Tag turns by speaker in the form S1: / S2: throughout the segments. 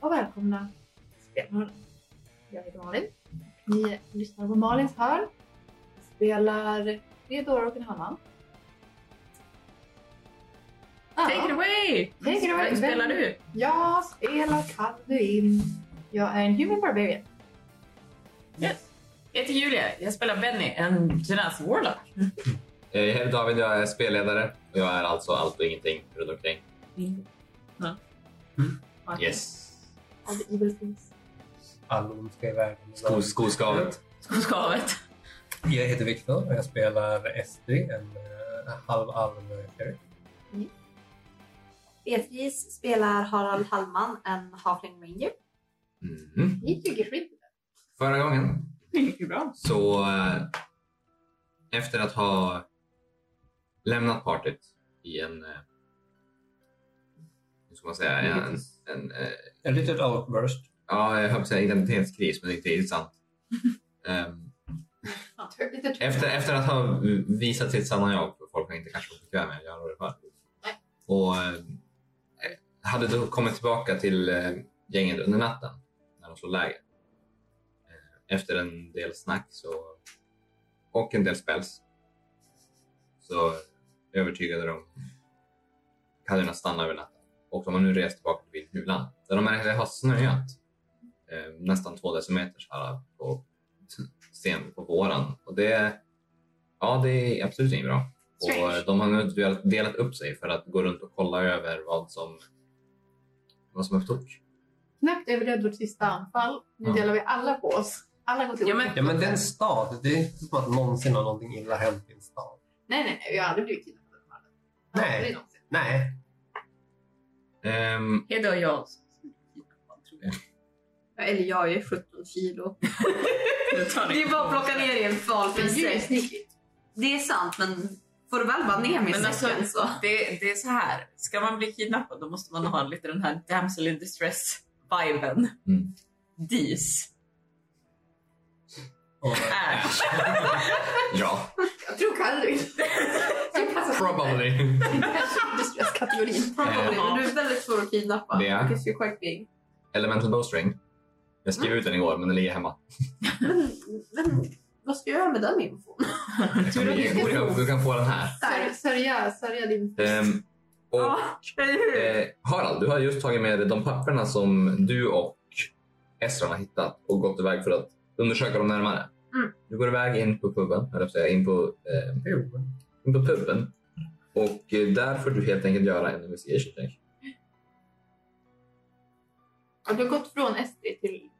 S1: och välkomna Spelhörnan. Jag heter Malin. Ni lyssnar på Malins hörn. Jag spelar Theodora och en Hanna. Ja,
S2: Take it away!
S1: Take it away.
S2: Vem spelar du?
S1: Jag spelar Kalduin. Jag är en human barbarian.
S2: Yes. Jag heter Julia. Jag spelar Benny, en Genaz Warlock.
S3: Eh, Jag heter David, jag är spelledare och jag är alltså allt och ingenting runt omkring.
S2: Ja. Okej.
S3: Yes.
S1: All the evil things.
S4: alla ondska i världen.
S3: Sko, skoskavet.
S2: Skoskavet.
S4: Jag heter Viktor och jag spelar Estri, en uh, halvalv sheriff.
S5: Beatrice spelar Harald Hallman, en Halfling Ranger.
S3: Mhm.
S1: Ni tycker skit.
S3: Förra gången
S2: Det gick ju bra.
S3: Så eh, efter att ha lämnat partyt i en, eh, hur ska man säga, en, en, eh,
S4: En litet outburst.
S3: ja, jag höll på att säga identitetskris, men det är inte riktigt sant. Ehm,
S1: Lite tr-
S3: efter, efter att ha visat sitt sanna jag, för folk har inte kanske varit bekväma med att göra det för. Och eh, hade då kommit tillbaka till eh, gänget under natten när de slog läger. Eh, Efter en del snack så, och en del spells så övertygade de Kaduna att stanna över natten. Och de har nu rest tillbaka till Vildhulan där de märkte att det har snöat eh, nästan två decimeter så här på, sen på våren. Och det, ja, det är absolut inte bra. Och eh, de har nu delat- delat upp sig för att gå runt och kolla över vad som, vad som är på tok.
S1: Knappt överlevde vårt sista anfall. Nu
S3: Ja.
S1: delar vi alla på oss. Alla går till
S2: Ja, men-
S1: olika-
S4: Ja, men det är en stad. Det är inte som att någonsin har någonting illa hänt i en stad.
S1: Nej, nej, nej. Vi har aldrig blivit kidnappade. av de andra.
S4: Nej.
S1: Aldrig någonsin.
S4: Nej.
S3: Ehm,
S2: Hedda och jag.
S5: Eller jag är 17 kilo.
S2: Nu tar ni-
S5: Det är bara att plocka ner i en
S1: Men
S5: valfri
S1: du är
S5: säck.
S1: snickrig.
S5: Det är sant, men får du väl bara ner mig i
S2: Men alltså-
S5: säcken så.
S2: Det, det är så här. Ska man bli kidnappad då måste man ha lite den här damsel in distress-viben.
S3: Mm.
S2: Dis. Äh.
S4: Och,
S2: Ash.
S3: Ja,
S1: Jag tror Kalduin. Jag passar
S3: probably.
S1: distress-kategorin.
S5: Probably, men Du är väldigt svår att kidnappa.
S3: Det är.
S5: Because you're quite big.
S3: Elemental bowstring. Jag skrev ut den igår, men den ligger hemma.
S5: Men, men vad ska jag göra med den infon?
S3: Jag kan
S2: Tur att
S3: ge-
S2: vi
S3: du, kan, du kan få den här.
S1: Sör- Sörja, sörja din...
S3: Ehm, och, eh, Harald, du har just tagit med dig de papperna som du och Esran har hittat och gått iväg för att undersöka dem närmare.
S5: Mm.
S3: Du går iväg in på puben, höll jag på att säga, in på, eh,
S4: jo.
S3: in på puben. Och eh, där får du helt enkelt göra en investigation check.
S1: Ja, du har gått från Estrid till...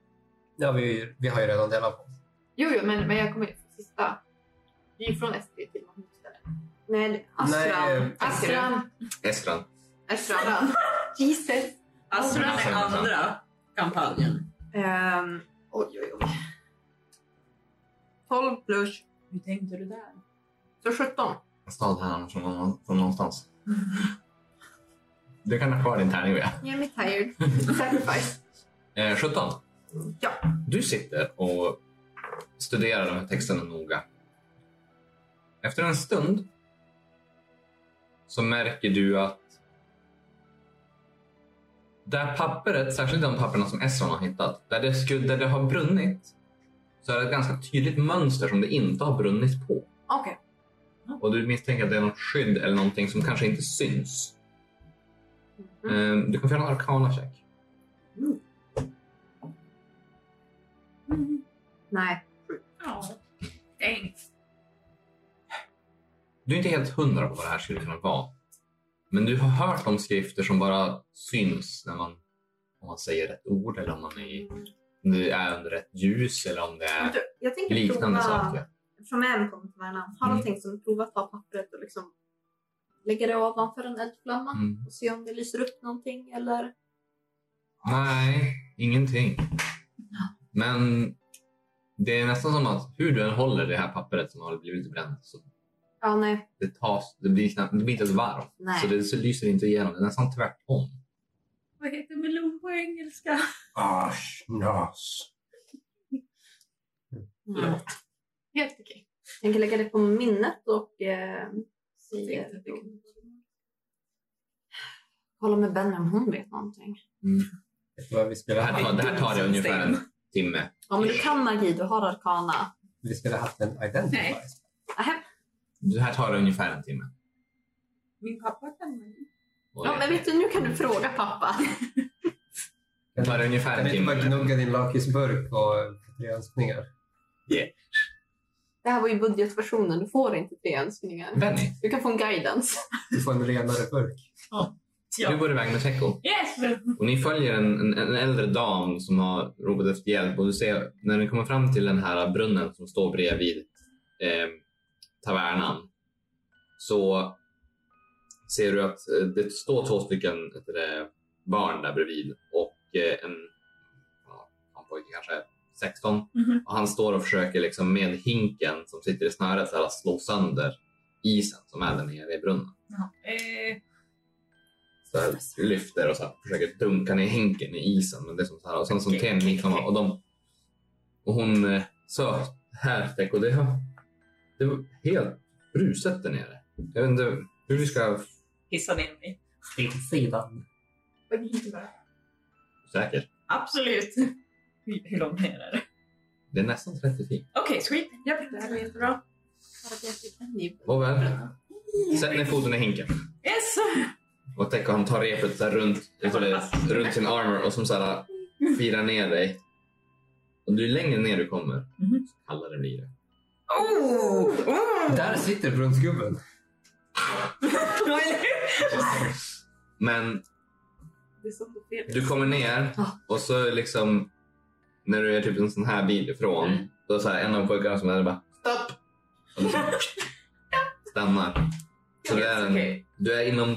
S4: Ja, vi, vi har ju redan delat på oss.
S1: Jo, jo, men, men jag kommer från sista... Du gick från Estrid till något nytt ställe.
S5: Nej, Astran.
S3: eh,
S4: Nej.
S1: Astran!
S3: Estran,
S5: Astran.
S1: Astran! Jesus!
S2: Alltså den här andra kampanjen.
S5: Ehm, oj, oj, oj. 12 plus,
S2: Hur tänkte du där?
S5: så 17.
S3: jag stal den från, någon- från någonstans. Du kan ha kvar din tärning, Bea.
S5: Jag är tired.
S1: Sacrifice.
S3: Eh, 17.
S5: Ja.
S3: Du sitter och studerar de här texterna noga. Efter en stund så märker du att där pappret, särskilt de papperna som Esron har hittat, där det, skulle, där det har brunnit så är det ett ganska tydligt mönster som det inte har brunnit på.
S5: Okej.
S3: Och du misstänker att det är något skydd eller någonting som kanske inte syns. Eh, Du kan få göra en arkana check.
S5: Nej.
S2: Ja. Tänk.
S3: Du är inte helt hundra på vad det här skulle kunna vara. Men du har hört om skrifter som bara syns när man, om man säger rätt ord eller om man är, om det är under rätt ljus eller om det är
S5: Jag tänker
S3: Eh, liknande
S5: prova,
S3: saker.
S5: eftersom en kommer från Värnamo, har
S3: Mm.
S5: mm. tänkt som prova att ta pappret och liksom lägga det ovanför en eldflamma
S3: Mm.
S5: och se om det lyser upp någonting eller...
S3: Nej, ingenting. Men det är nästan som att hur du än håller det här pappret som har blivit bränt så
S5: Ja, nej.
S3: det, tas, det, blir, knappt, det blir inte ens varmt.
S5: Nej.
S3: Så det så lyser inte igenom. Det är nästan tvärtom.
S2: Vad heter melon på engelska?
S4: Ashnas.
S5: Mm.
S1: Helt okej.
S5: Jag kan lägga det på minnet och eh, se...
S2: tänkte att det kunde
S5: Kolla med Benny om hon vet någonting.
S4: Jag tror att vi
S3: Det
S4: skulle
S3: här tar,
S4: ha
S3: det här tar det ungefär en timme.
S5: Ja, men du kan magi, du har arkana.
S4: vi skulle ha haft en identify.
S2: Nej.
S5: Aha.
S3: Det här tar det ungefär en timme.
S2: Min pappa kan...
S3: Och
S5: Ja, men vet du, nu kan du fråga pappa.
S3: Det tar ungefär
S4: Kan
S3: en
S4: du inte bara
S3: timme.
S4: gnugga din lakritsburk och tre önskningar?
S5: Det här var ju budgetversionen, du får inte tre önskningar.
S3: Benny,
S5: Du kan få en guidance.
S4: Du får en renare burk.
S2: Ja.
S3: du går iväg med Teko.
S2: Yes!
S3: Och ni följer en, en, en äldre dam som har ropat efter hjälp och du ser när ni kommer fram till den här brunnen som står bredvid eh, tavernan så ser du att eh, det står två stycken heter det, barn där bredvid och eh, en, ja, en pojke kanske är 16
S2: Mhm.
S3: och han står och försöker liksom med hinken som sitter i snöret så här, att slå sönder isen som är där nere i brunnen.
S2: Eh,
S3: så här, lyfter och så här, försöker dunka ner hinken i isen. Men det är som så här, och sen som
S2: Okej,
S3: Tenn
S2: okej,
S3: liksom,
S2: okej.
S3: och de och hon eh, sa här Teko, och det, har- det var helt bruset där nere. Jag vet inte hur vi ska
S2: hissa ner mig.
S4: Till sidan.
S3: säkert.
S2: Absolut. Hur, hur långt ner är det?
S3: Det är nästan 30 feet.
S2: Okej, sweet. Ja, det här blir jättebra.
S3: Och väl, sätt ner foten i hinken.
S2: Yes!
S3: Och Teko han tar repet så här runt, så det, runt sin armor och som så här firar ner dig. Och ju längre ner du kommer,
S2: Mhm.
S3: så kallare blir det.
S2: Oh! oh.
S4: Där sitter brunnsgubben.
S3: Men
S5: Det är som på fel.
S3: Du kommer ner
S5: Ja.
S3: och så liksom när du är typ en sån här bil ifrån
S2: Mm.
S3: då är så här, en av pojkarna som är där bara stopp! Och du så- stannar. Så det är en,
S2: Okej.
S3: Du är inom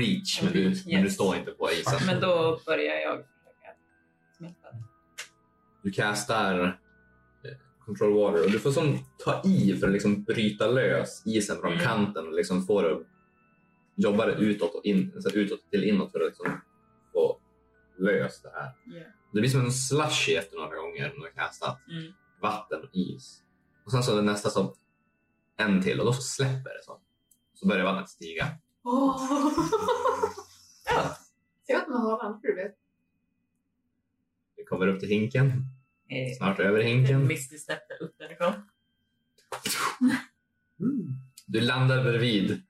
S3: reach men du,
S2: Reach,
S3: men du
S2: yes.
S3: står inte på isen.
S2: Men då börjar jag försöka smälta.
S3: Du castar eh, control water och du får som ta i för att liksom bryta lös isen från
S2: Mm.
S3: kanten och liksom få det att jobba det utåt, och in, så här utåt till inåt för att liksom få lös det här. Det blir som en slushy efter några gånger när du har kastat
S2: Mm.
S3: vatten och is. Och sen så är det nästa som en till och då så släpper det så. Så börjar vattnet stiga.
S1: Ser jag att man har varandra, du vet.
S3: Det kommer upp till hinken,
S2: Eh,
S3: snart över hinken.
S2: Misty steppade upp därifrån.
S3: Du landar bredvid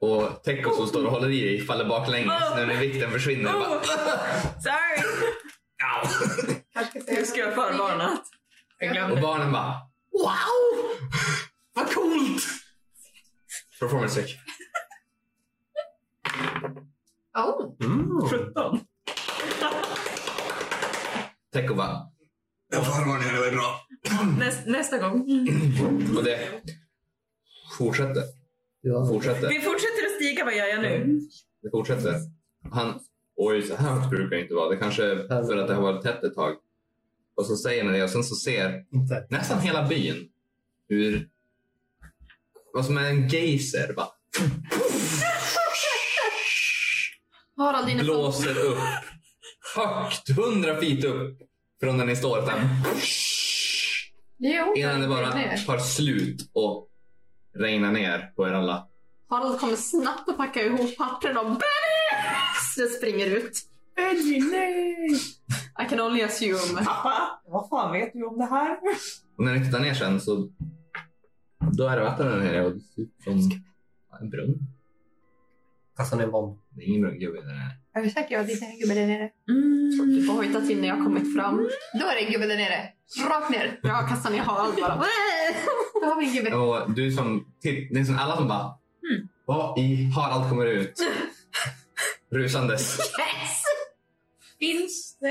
S3: och Teko som står och håller i dig faller baklänges nu när vikten försvinner. Bara,
S2: Oh! Sorry!
S3: "Au!"
S1: Kanske ska
S2: Nu ska jag förvarna. att Jag
S3: och
S2: glömde.
S3: barnen bara Wow! Vad coolt! Performance check.
S1: Oh,
S4: Mm.
S2: 17.
S3: Teko bara Den förvarningen var bra. Mm.
S2: Näst, nästa gång.
S3: Och det fortsätter. Fortsätter.
S2: Det fortsätter att stiga. Vad gör jag
S3: Mm.
S2: nu?
S3: Det fortsätter. Han, oj, så här högt brukar det inte vara. Det kanske är för att det har varit tätt ett tag. Och så säger ni det och sen så ser
S4: Inte.
S3: nästan hela byn hur vad som är en geyser bara
S5: Harald, dina
S3: blåser upp högt, hundra feet upp från där ni står. Utan,
S1: jo.
S3: innan det bara tar slut och regnar ner på er alla.
S5: Harald kommer snabbt att packa ihop pappren och Benny! Så springer ut.
S2: Benji, nej!
S5: I can only assume.
S2: Pappa, vad fan vet du om det här?
S3: Och när ni tittar ner sen så då är det vatten där nere och det ser ut som en brunn.
S4: Kastar ner en bomb.
S3: Det är ingen brunngubbe där nere.
S1: Är du säker? Jag tittar en gubbe där nere.
S5: Mm.
S2: Mm.
S5: Du får hojta till när jag kommit fram.
S1: Då är det en gubbe där nere. Rakt ner.
S5: Jag kastar ner Harald bara.
S1: Då har vi en gubbe.
S3: Och du som, till- det är som alla som bara,
S2: Mm.
S3: vad i Harald kommer ut? Rusandes.
S5: Yes!
S2: Finns det...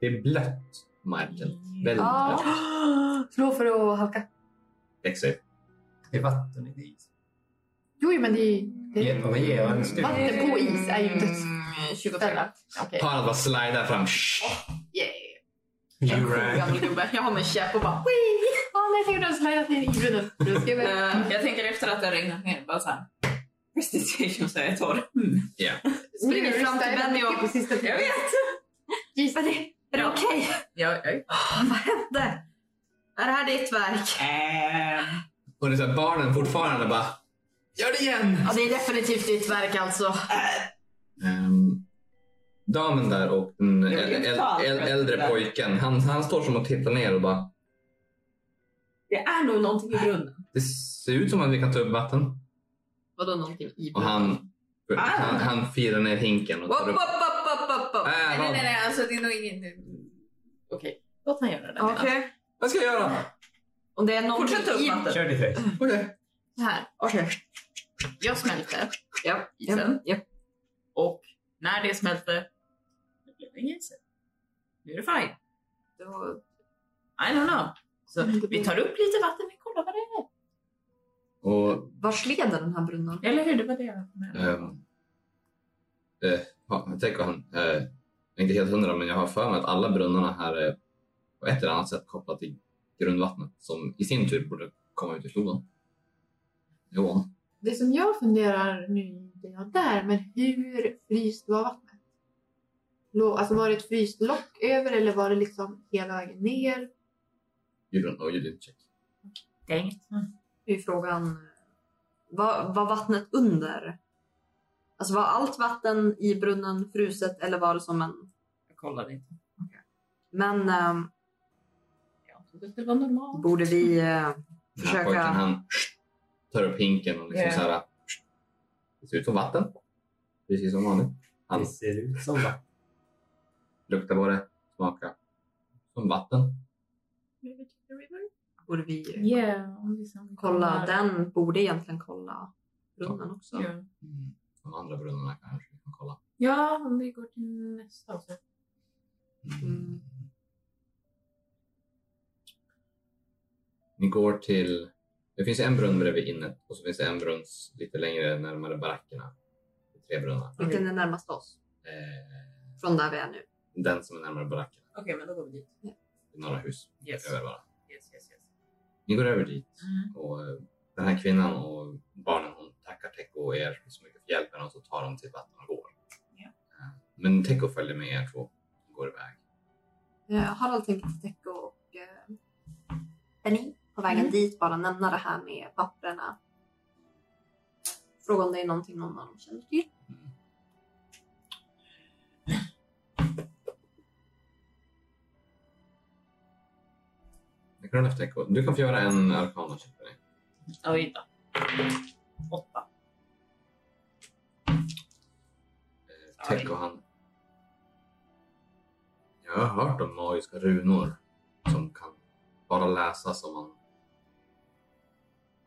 S3: Det är blött på marken. Väldigt
S5: Ja.
S3: blött.
S1: Slå för att halka.
S3: Exakt.
S4: Det är vatten i is.
S1: Jo, jo, men det är det är-
S4: Ge- vad ger jag en styr?
S1: Vatten på is är ju döds...
S5: Mm, 25.
S1: Ställa. Okej.
S3: Harald bara slidar fram.
S1: Yeah.
S4: You right.
S5: Gammal gubbe. Jag har min käpp och bara...
S1: Åh, nej, tänk att du har slidat ner i brunnen. Du ska väl-
S2: Eh, jag tänker efter att det har regnat ner, bara såhär... Prestitation så är jag torr.
S5: Springer fram till Benny och...
S1: På sista
S2: Jag vet!
S5: Benny, är det okej?
S2: Jag, jag,
S5: Vad hände? Är det här ditt verk?
S2: Ehm,
S3: Och det är så här, barnen fortfarande bara, gör det igen!
S5: Ja, det är definitivt ditt verk alltså.
S3: Ehm, damen där och den
S2: Jo,
S3: äl-
S2: inte
S3: äl-
S2: allt,
S3: äl-
S2: men-
S3: äldre pojken, han, han står som och tittar ner och bara
S2: Det är nog någonting i grunden.
S3: Det ser ut som att vi kan ta upp vatten.
S2: Vadå någonting i
S3: Och han,
S2: Ah.
S3: han, han firar ner hinken och
S2: Wop,
S3: tar
S2: wop,
S3: upp.
S2: wop, wop, wop, wop.
S3: Äh,
S2: Nej, nej,
S3: vad-
S2: nej, nej, alltså det är nog ingen... Okej, låt han göra det.
S5: Okej.
S3: Vad ska jag göra?
S2: Om det är någonting
S5: Fortsätt ta upp
S2: i...
S5: vatten.
S4: Kör ditt race.
S3: Okej.
S2: Så här.
S5: Okej.
S2: Jag smälter
S5: Ja.
S2: isen.
S5: ja.
S2: Och när det smälter, det blev ingen is. Nu är det fine.
S5: Då-
S2: I don't know. Så vi tar upp lite vatten, vi kollar vad det är.
S3: Och
S5: Vars leder den här brunnen?
S2: Eller hur, det var det jag menade.
S3: ehm, eh, ha- jag tänker han, eh, jag är inte helt hundra men jag har för mig att alla brunnarna här är på ett eller annat sätt kopplat till grundvattnet som i sin tur borde komma ut i floden. Jo.
S1: Det som jag funderar nu, inte jag där, men hur fryst var vattnet? Lå- Alltså var det ett fryst lock över eller var det liksom hela vägen ner?
S3: Djuren och ljudincheck.
S2: Dang it.
S5: Det är ju frågan, var, var vattnet under? Alltså var allt vatten i brunnen fruset eller var det som en...
S2: Jag kollade inte.
S5: Men ehm,
S2: Jag trodde att det var normalt.
S5: borde vi... eh,
S3: Den här
S5: Försöka-
S3: pojken han tar upp hinken och liksom
S2: Ja.
S3: så här. Det ser ut som vatten. Precis som vanligt. Han-
S4: Det ser ut som vatten.
S3: Lukta på det, smaka. Som vatten.
S5: borde vi
S2: Yeah, och liksom
S5: kolla?
S2: kollar.
S5: Den borde egentligen kolla brunnen också.
S2: Ja.
S3: De andra brunnarna kanske vi kan kolla.
S2: Ja, om vi går till nästa också.
S5: Mm.
S3: Ni går till... Det finns en brunn bredvid innet och så finns det en brunn s- lite längre närmare barackerna. Det är Tre brunnar.
S5: Vilken är närmast oss?
S3: Eh,
S5: Från där vi är nu.
S3: den som är närmare barackerna.
S2: Okej, men då går vi dit.
S3: Det är några hus
S2: Yes.
S3: över bara.
S2: Yes, yes, yes.
S3: Ni går över dit
S2: Mm.
S3: och eh, den här kvinnan och barnen hon tackar Teko och er så mycket för hjälpen och så tar de till vatten och går.
S2: Ja.
S3: Eh, Men Teko följer med er två och går iväg.
S5: Eh, Harald tänkte täcka och eh, Benny på vägen dit bara nämna det här med papperna. Fråga om det är någonting någon av dem känner till.
S3: Jag kan rulla efter Teko. Du kan få göra en arkana check för dig.
S2: Oj då. Åtta.
S3: Eh, Teko han. Jag har hört om magiska runor som kan bara läsas om man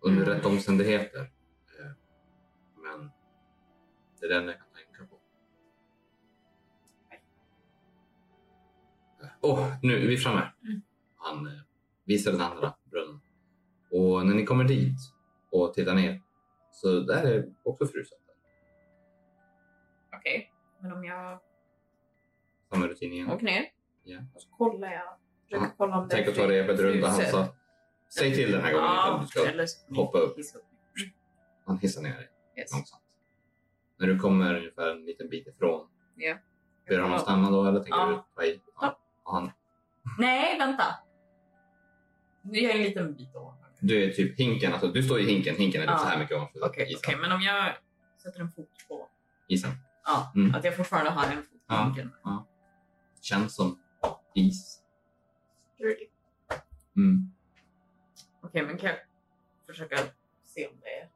S3: under
S2: Mm.
S3: rätt omständigheter. Eh, Men det är den jag kan tänka på. Eh, Åh, nu är vi framme.
S2: Mm.
S3: Han eh, visar den andra brunnen. Och när ni kommer dit och tittar ner så där är också fruset.
S2: Okej, men om jag
S3: Samma rutin igen.
S2: åker ner
S3: Ja.
S2: och så kollar jag. Försöker
S3: Ja,
S2: kolla om det
S3: Tänk
S2: är
S3: att ta repet runt och han
S2: fruset.
S3: sa Säg till den här gången ifall
S2: Ja,
S3: du ska.
S2: eller så-
S3: hoppa upp.
S2: Hissa upp.
S3: Han hissar ner dig
S2: Yes.
S3: långsamt. När du kommer ungefär en liten bit ifrån.
S2: Ja.
S3: Ber du honom stanna då eller tänker
S2: Ja.
S3: du ta i? Ja. Och han,
S2: Nej, vänta. Nu är jag en liten bit ovanför.
S3: du är typ hinken, alltså du står i hinken, hinken är typ
S2: Ja.
S3: så här mycket ovanför
S2: Okej,
S3: isen.
S2: okej, men om jag sätter en fot på.
S3: isen.
S2: Ja,
S3: Mm.
S2: att jag fortfarande har en fot på
S3: Ja.
S2: hinken.
S3: Känns som is.
S1: Dirty.
S3: Mm.
S2: Okej, men kan jag försöka se om det är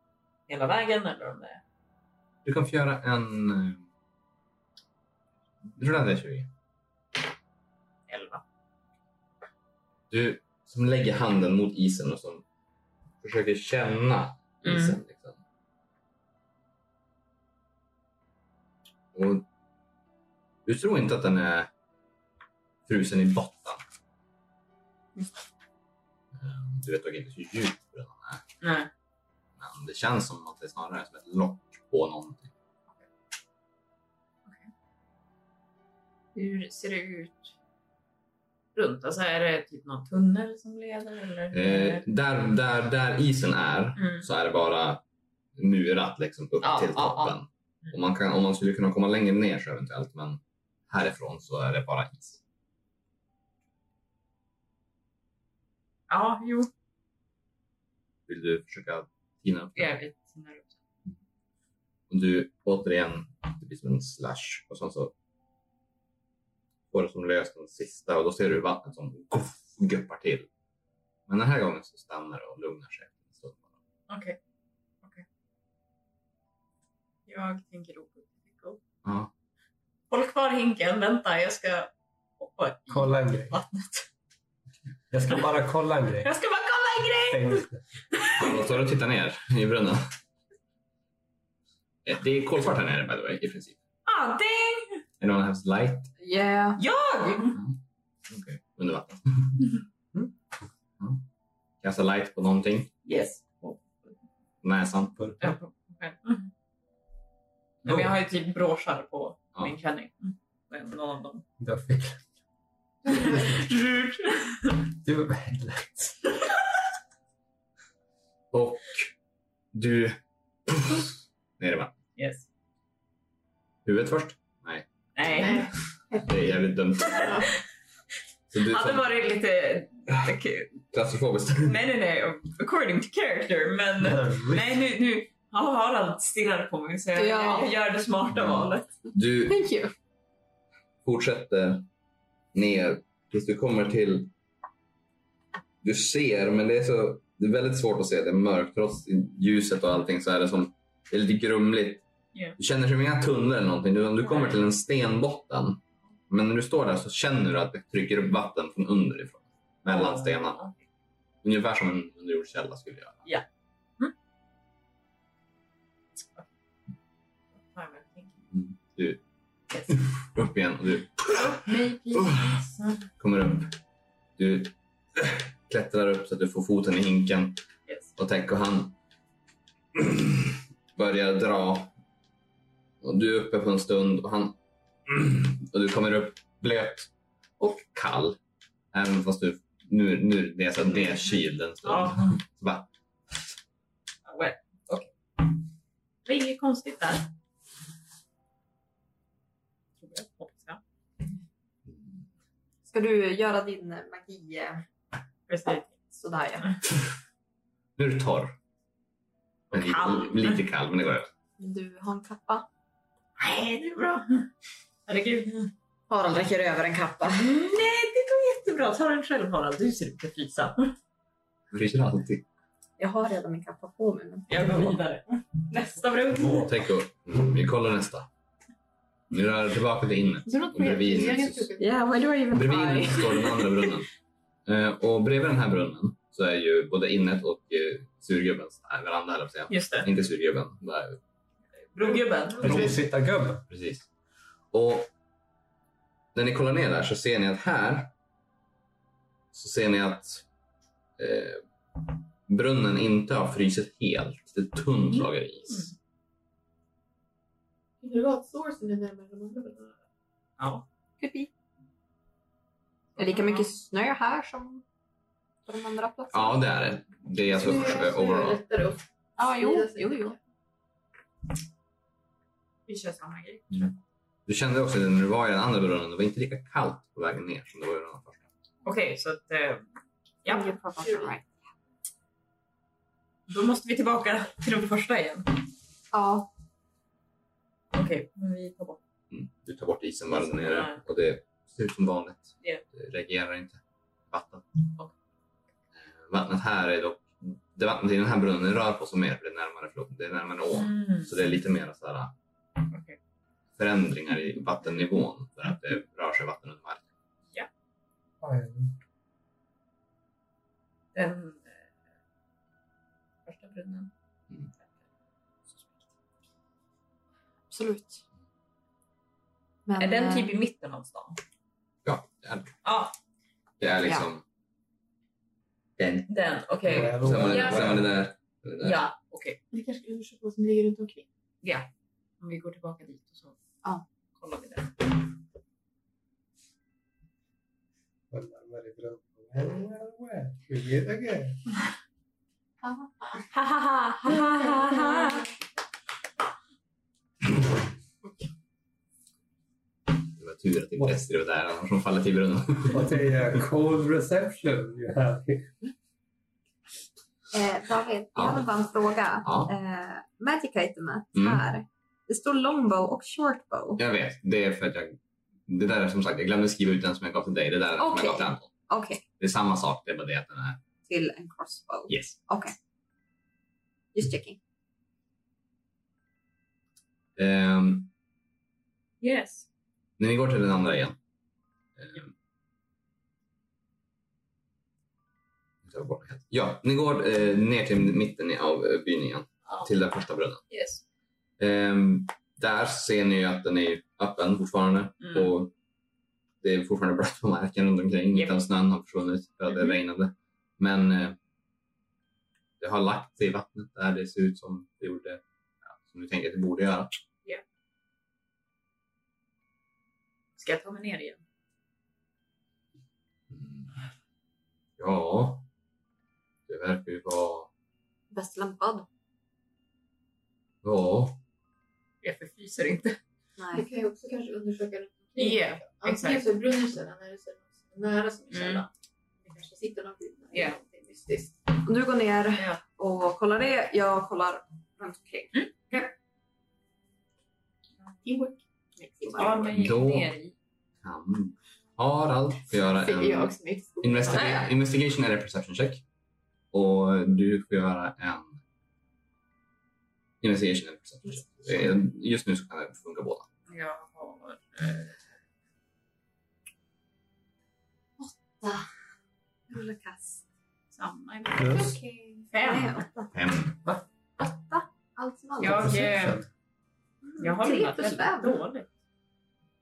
S2: hela vägen eller om det är...
S3: Du kan få göra en... eh, Rulla en D20.
S2: 11.
S3: Du som lägger handen mot isen och som försöker känna
S2: Mm.
S3: isen. Liksom. Och du tror inte att den är frusen i botten. Eh, Du vet dock inte hur djup den är.
S2: Nej.
S3: Men det känns som att det snarare är som ett lock på någonting.
S2: Hur ser det ut runt? Alltså är det typ någon tunnel som leder eller?
S3: Eh, där, där, där isen är
S2: Mm.
S3: så är det bara murat liksom upp
S2: Ja,
S3: till
S2: ja, ja. Mm.
S3: toppen. Och man kan, om man skulle kunna komma längre ner så eventuellt, men härifrån så är det bara is.
S2: Ja, jo.
S3: Vill du försöka tina upp
S2: Det
S3: det?
S2: är vi.
S3: Och du återigen, det blir som en slash och sen så får som löst den sista och då ser du vattnet som goff, guppar till. Men den här gången så stannar det och lugnar sig. en stund bara.
S2: Okej. Okej. Jag tänker oskyldigt.
S3: Ja.
S2: Håll kvar hinken, vänta, jag ska hoppa i
S4: Kolla en grej.
S2: vattnet.
S4: Jag ska bara kolla en grej.
S2: Jag ska bara kolla en grej!
S4: Stäng inte.
S3: Då står du och tittar ner i brunnen. Eh, Det är kolsvart här nere by the way, i princip.
S2: Ah, ding!
S3: Anyone has light?
S5: Yeah.
S2: Jag!
S3: Okay. Under vatten. Mm. Kasta light på någonting.
S2: Yes.
S3: Näsan.
S2: Jag, på mig själv. Mm. Nej, men jag har ju typ bråsar på
S3: Ja.
S2: min klänning. Mm. Någon av dem.
S4: Du har fel. Du har fel.
S3: Och du... Ner i vattnet.
S2: Yes.
S3: Huvudet först.
S2: Nej.
S3: Det är jävligt dumt. Så du
S2: Det hade
S3: är
S2: varit lite... okej.
S3: klaustrofobiskt.
S2: Nej, nej, nej. According to character, men... Nej, nu... nu. Ja, Harald stirrar på mig så jag,
S5: Ja.
S2: jag gör det smarta valet.
S3: Du
S5: Thank you.
S3: fortsätter ner tills du kommer till... Du ser, men det är, så, det är väldigt svårt att se. Det är mörkt. Trots ljuset och allting så är det som... Det är lite grumligt.
S2: Ja.
S3: Du känner som inga tunnor eller någonting. Du, du kommer till en stenbotten. Men när du står där så känner du att det trycker upp vatten från underifrån. Mellan stenarna. Ungefär som en underjordskälla skulle göra. Upp igen och du
S1: Nej, please.
S3: kommer upp. Du klättrar upp så att du får foten i hinken.
S2: Yes.
S3: och tänker han börjar dra. Och du är uppe på en stund och han och du kommer upp blöt och kall. Även fast du nu, nu det är så att det är kyld en stund.
S2: Ja.
S3: Så bara,
S2: Well, okay. Det är inget konstigt där. Tror jag, hoppas jag.
S5: Ska du göra din eh, magi eh,
S2: Precis.
S5: sådär ja.
S3: nu är du torr. Men lite,
S2: Kall.
S3: lite kall, men det går över.
S5: Du har en kappa.
S2: Nej, det är bra. Herregud.
S5: Harald räcker över en kappa.
S2: Nej, det går jättebra. Ta den själv Harald. Du ser ut att frysa.
S3: Du fryser alltid.
S5: Jag har redan min kappa på mig. Men...
S2: Jag går vidare. Nästa brunn.
S3: Tänk och, mm, vi kollar nästa. Nu rör du tillbaka till inne.
S1: Is there not
S3: Och bredvid
S1: creative? Jag
S3: Jesus.
S1: kan tycka-
S5: Yeah, where do I even
S3: Bredvid innet
S5: buy?
S3: så står den andra brunnen. Eh, och bredvid den här brunnen så är ju både innet och eh, surgubbens nej, veranda, eller säga.
S2: Just det.
S3: Inte surgubben. Där,
S2: Brogubben.
S4: Rosittargubben.
S3: precis. Och när ni kollar ner där så ser ni att här så ser ni att eh, brunnen inte har frysit helt. Det är tunt lager is.
S1: Kunde det vara att sourcen är närmare de andra brunnarna?
S2: Ja.
S5: Could be. Det är lika mycket snö här som på de andra platserna.
S3: Ja, det är det. Det är alltså
S1: Det är- det är
S3: overall.
S1: lättare att
S5: Ja, jo,
S1: sprida sig.
S5: jo, jo.
S2: Vi kör samma grej.
S3: Du kände också det när du var i den andra brunnen. Det var inte lika kallt på vägen ner som det var i den första.
S2: Okej, så att... Eh, ja,
S5: You're probably right.
S2: då måste vi tillbaka till den första igen.
S5: Ja,
S2: Okej, men vi tar bort.
S3: Mm. Du tar bort isen bara där nere och det ser ut som vanligt.
S2: Ja.
S3: Det reagerar inte. Vatten.
S2: Ja.
S3: Eh, Vattnet här är dock... Det vattnet i den här brunnen rör på sig mer för det är närmare floden. Det är närmare ån.
S2: Mm.
S3: Så det är lite mer så här,
S2: Okej.
S3: förändringar i vattennivån för att det rör sig vatten under marken.
S2: Den eh, första brunnen.
S3: Mm.
S5: absolut. Men,
S2: Är den
S5: eh,
S2: typ i mitten av stan?
S3: Ja, det är,
S2: Ja,
S3: det är liksom... Den.
S2: den. Okej.
S3: Sen var det,
S2: Ja.
S3: sen var det där. det där.
S2: Ja, okej.
S1: Vi kanske ska undersöka vad som ligger runt omkring.
S2: Ja. Om vi går tillbaka dit och så
S5: Ja.
S2: kollar vi det.
S3: Det var tur att det inte Estrid var där, annars hon fallit i brunnen.
S4: What a cold reception you have here.
S5: Eh, David, jag har
S3: Ja.
S5: bara en fråga.
S3: Ja.
S5: Eh, magic itemet
S3: Mm.
S5: här. Det står longbow och shortbow.
S3: Jag vet, det är för att jag det där är som sagt, jag glömde skriva ut den som jag gav till dig. Det där är som
S5: Okej.
S3: jag gav till Anton.
S5: Okej,
S3: Det är samma sak, det är bara det att den är...
S5: till en crossbow.
S3: Yes.
S5: Just checking.
S3: Ehm,
S2: Yes.
S3: när ni går till den andra igen. ehm, jag tar bort den. Ja, ni går eh, ner till mitten av eh, byn igen.
S2: Ja.
S3: Till den första brunnen.
S2: Yes.
S3: Ehm, där ser ni ju att den är öppen fortfarande
S2: Mm.
S3: och det är fortfarande blött på marken runt omkring.
S2: Japp.
S3: Utan snön har försvunnit för att det
S2: Mhm.
S3: regnade. Men eh, det har lagt sig i vattnet där det ser ut som det gjorde, ja, som du tänker att det borde göra.
S2: Ska jag ta mig ner igen?
S3: Ja, det verkar ju vara...
S5: Bäst lämpad?
S3: Ja,
S2: Jag förfryser inte.
S1: Vi
S5: Nej.
S1: kan ju också kanske undersöka runt
S2: Yeah,
S1: Antingen
S2: exakt.
S1: så är brunnen källan eller så är det någon som är nära som är
S2: Mm.
S1: källan. Det kanske sitter någon vid
S2: Yeah.
S1: Det är mystiskt.
S5: Om du går ner
S2: Ja.
S5: och kollar det, jag kollar runt omkring.
S2: Ta mig
S3: Då-
S2: ner i.
S3: kan Harald få göra
S1: Ser jag
S3: en
S1: också mitt i skolan.
S3: investiga- investigation eller perception check. Och du får göra en investigation eller perception check. Eh, Just nu så kan det funka båda.
S2: Jag har... eh,
S5: Rulla kass.
S2: samma.
S4: Plus.
S5: Okej. Nej,
S2: Fem.
S5: åtta.
S3: Fem.
S5: Åtta. Allt som allt.
S2: Jag, eh,
S4: Perception.
S2: jag har
S5: Tre
S2: rullat
S5: plus
S2: väldigt
S5: fem.
S2: dåligt.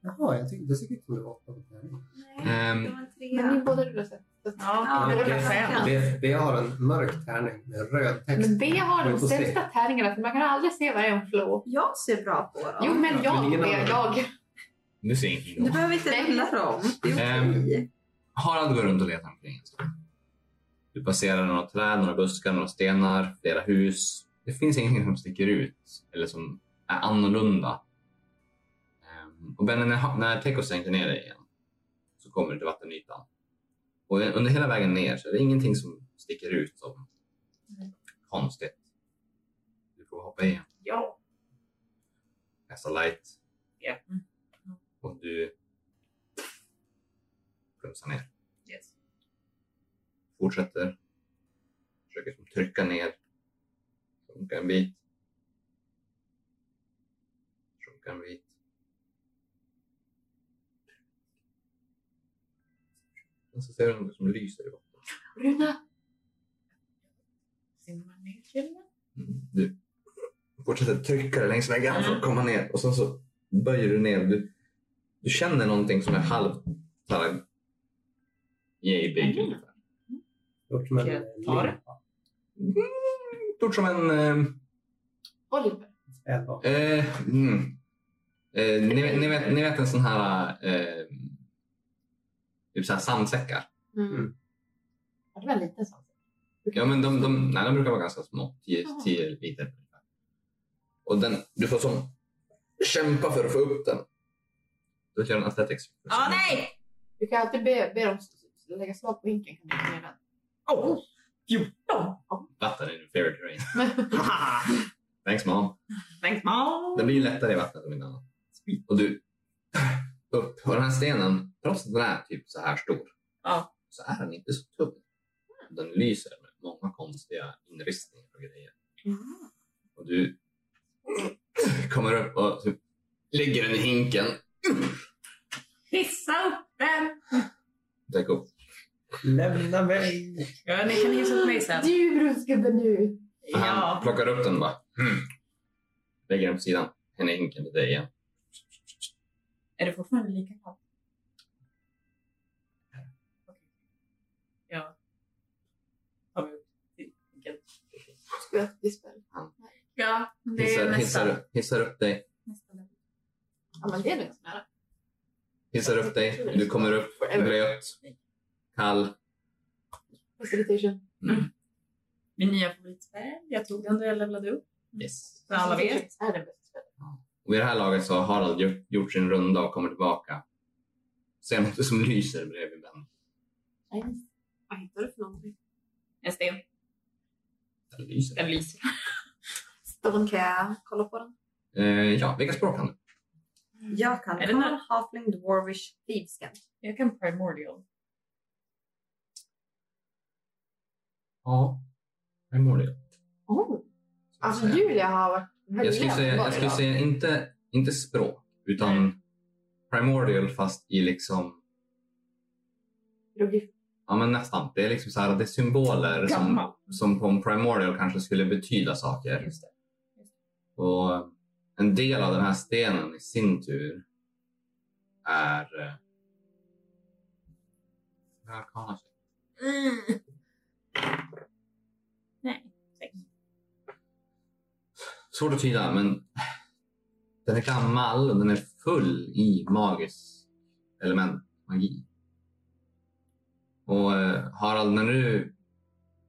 S4: Jaha, jag tyckte, det tyckte jag det var åtta.
S5: Nej,
S3: Ehm,
S5: det var en
S1: Men ni
S5: trea.
S1: båda rullar sen.
S2: Ja,
S5: Ja,
S2: jag rullar
S4: det-
S2: fem.
S4: Det, det har en mörk tärning med röd text.
S1: Men det har
S4: Vi
S1: de
S4: får se.
S1: sämsta tärningarna för man kan aldrig se vad det är hon slår.
S5: Jag ser bra på dem.
S1: Jo men
S4: Ja, men
S1: jag,
S4: ingen
S1: jag,
S4: annan.
S1: jag.
S3: Nu ser ingenting.
S5: Du
S3: då.
S5: behöver inte
S1: Nej.
S5: rulla dem. Det är okej.
S3: Ehm. Harald går runt och letar omkring. en stund. Du passerar några träd, några buskar, några stenar, flera hus. Det finns ingenting som sticker ut eller som är annorlunda. Ehm, Och Benny, när, när Teko sänker ner dig igen så kommer du till vattenytan. Och under hela vägen ner så är det ingenting som sticker ut som konstigt. Du får hoppa i
S2: Ja.
S3: kasta light
S2: Ja. Mm.
S3: och du plumsar ner.
S2: Yes.
S3: fortsätter. Försöker som trycka ner. Sjunka en bit. Sjunka en bit. Och så ser du något som lyser i botten.
S1: Runa,
S2: Simmar ner till den.
S3: Mm, Du fortsätter trycka dig längs väggen för att komma ner och sen så böjer du ner. Du, du känner någonting som är halvt så här yay big
S2: Mm.
S3: ungefär.
S4: Gjort som en
S2: Okej, ta det.
S4: limpa.
S3: Mm, Stort som en eh,
S1: Oliver.
S4: Spädbarn.
S3: Eh, mm. eh, ni, ni, vet, ni vet en sån här, eh, typ så här sandsäckar?
S4: Mm.
S1: Ja, det var en liten sån.
S3: Ja, men de, de, nej, de brukar vara ganska små, 10
S1: Jaha.
S3: 10 liter. ungefär. Och den, du får som kämpa för att få upp den. Du kör en athletics.
S2: Ja, nej!
S1: Du kan alltid be, be dem s- s- lägga slag på hinken. Kan du inte göra
S2: Åh! Oh, 14!
S3: Vatten är nu favorite terrain.
S1: den?
S2: Haha!
S3: Thanks mom.
S2: Thanks
S3: Den
S2: mom!
S3: blir ju lättare i vattnet om inte annat. Och du, upp. Och den här stenen, trots att den är typ så här stor,
S2: Ja.
S3: så är den inte så tung. Den lyser med många konstiga inristningar och grejer.
S2: Mm.
S3: Och du kommer upp och typ lägger den i hinken.
S2: Hissa upp den!
S3: Dök upp.
S4: Lämna mig!
S2: Ja, ni kan hissa upp mig sen.
S1: Du brunskade nu.
S3: Och Han
S2: Ja.
S3: plockar upp den och bara. Mm. Lägger den på sidan. Henne i hinken till dig igen.
S2: Är det fortfarande lika kallt? Okej. Ja. Tar vi upp vinkeln.
S1: Skulle jag dispel.
S2: Ja, det är
S3: Hissar, hissar,
S2: nästa.
S3: upp- hissar upp dig.
S2: nästa level.
S1: Ja men det är nog ganska nära.
S3: Hissar upp dig. Du kommer upp blöt. Kall.
S1: Facilitation.
S2: Min nya favoritspel. Jag tog den då jag levlade upp.
S3: Yes.
S2: Så alla vet.
S1: Facilitation Är den bästa spelen.
S3: Och vid det här laget så har Harald gjort, gjort sin runda och kommer tillbaka. Ser något som lyser bredvid Ben.
S1: Nej.
S5: Vad hittar du för någonting?
S2: En sten.
S3: Den lyser.
S2: Den lyser.
S5: Staven kan jag kolla på den.
S3: Eh, ja, vilka språk kan du?
S5: Jag kan
S2: Är det
S5: Common,
S2: något-
S5: Halfling, Dwarvish, Thieveskind.
S2: Jag kan primordial.
S4: Ja, primordial.
S1: Oh.
S3: jag
S1: Alltså
S3: säga.
S1: Julia har varit
S3: Jag skulle
S1: väldigt
S3: säga,
S1: bra
S3: jag skulle
S1: idag.
S3: säga inte, inte språk, utan
S2: Nej.
S3: primordial fast i liksom,
S1: Hieroglyf.
S3: ja men nästan. Det är liksom så här, det är symboler som,
S2: Gammal.
S3: som på en primordial kanske skulle betyda saker.
S2: Just det.
S3: Och en del av den här stenen i sin tur är... eh, en arkana check.
S2: Mm. Nej. sex.
S3: Svårt att tyda, men den är gammal och den är full i magisk element, magi. Och eh, Harald, när du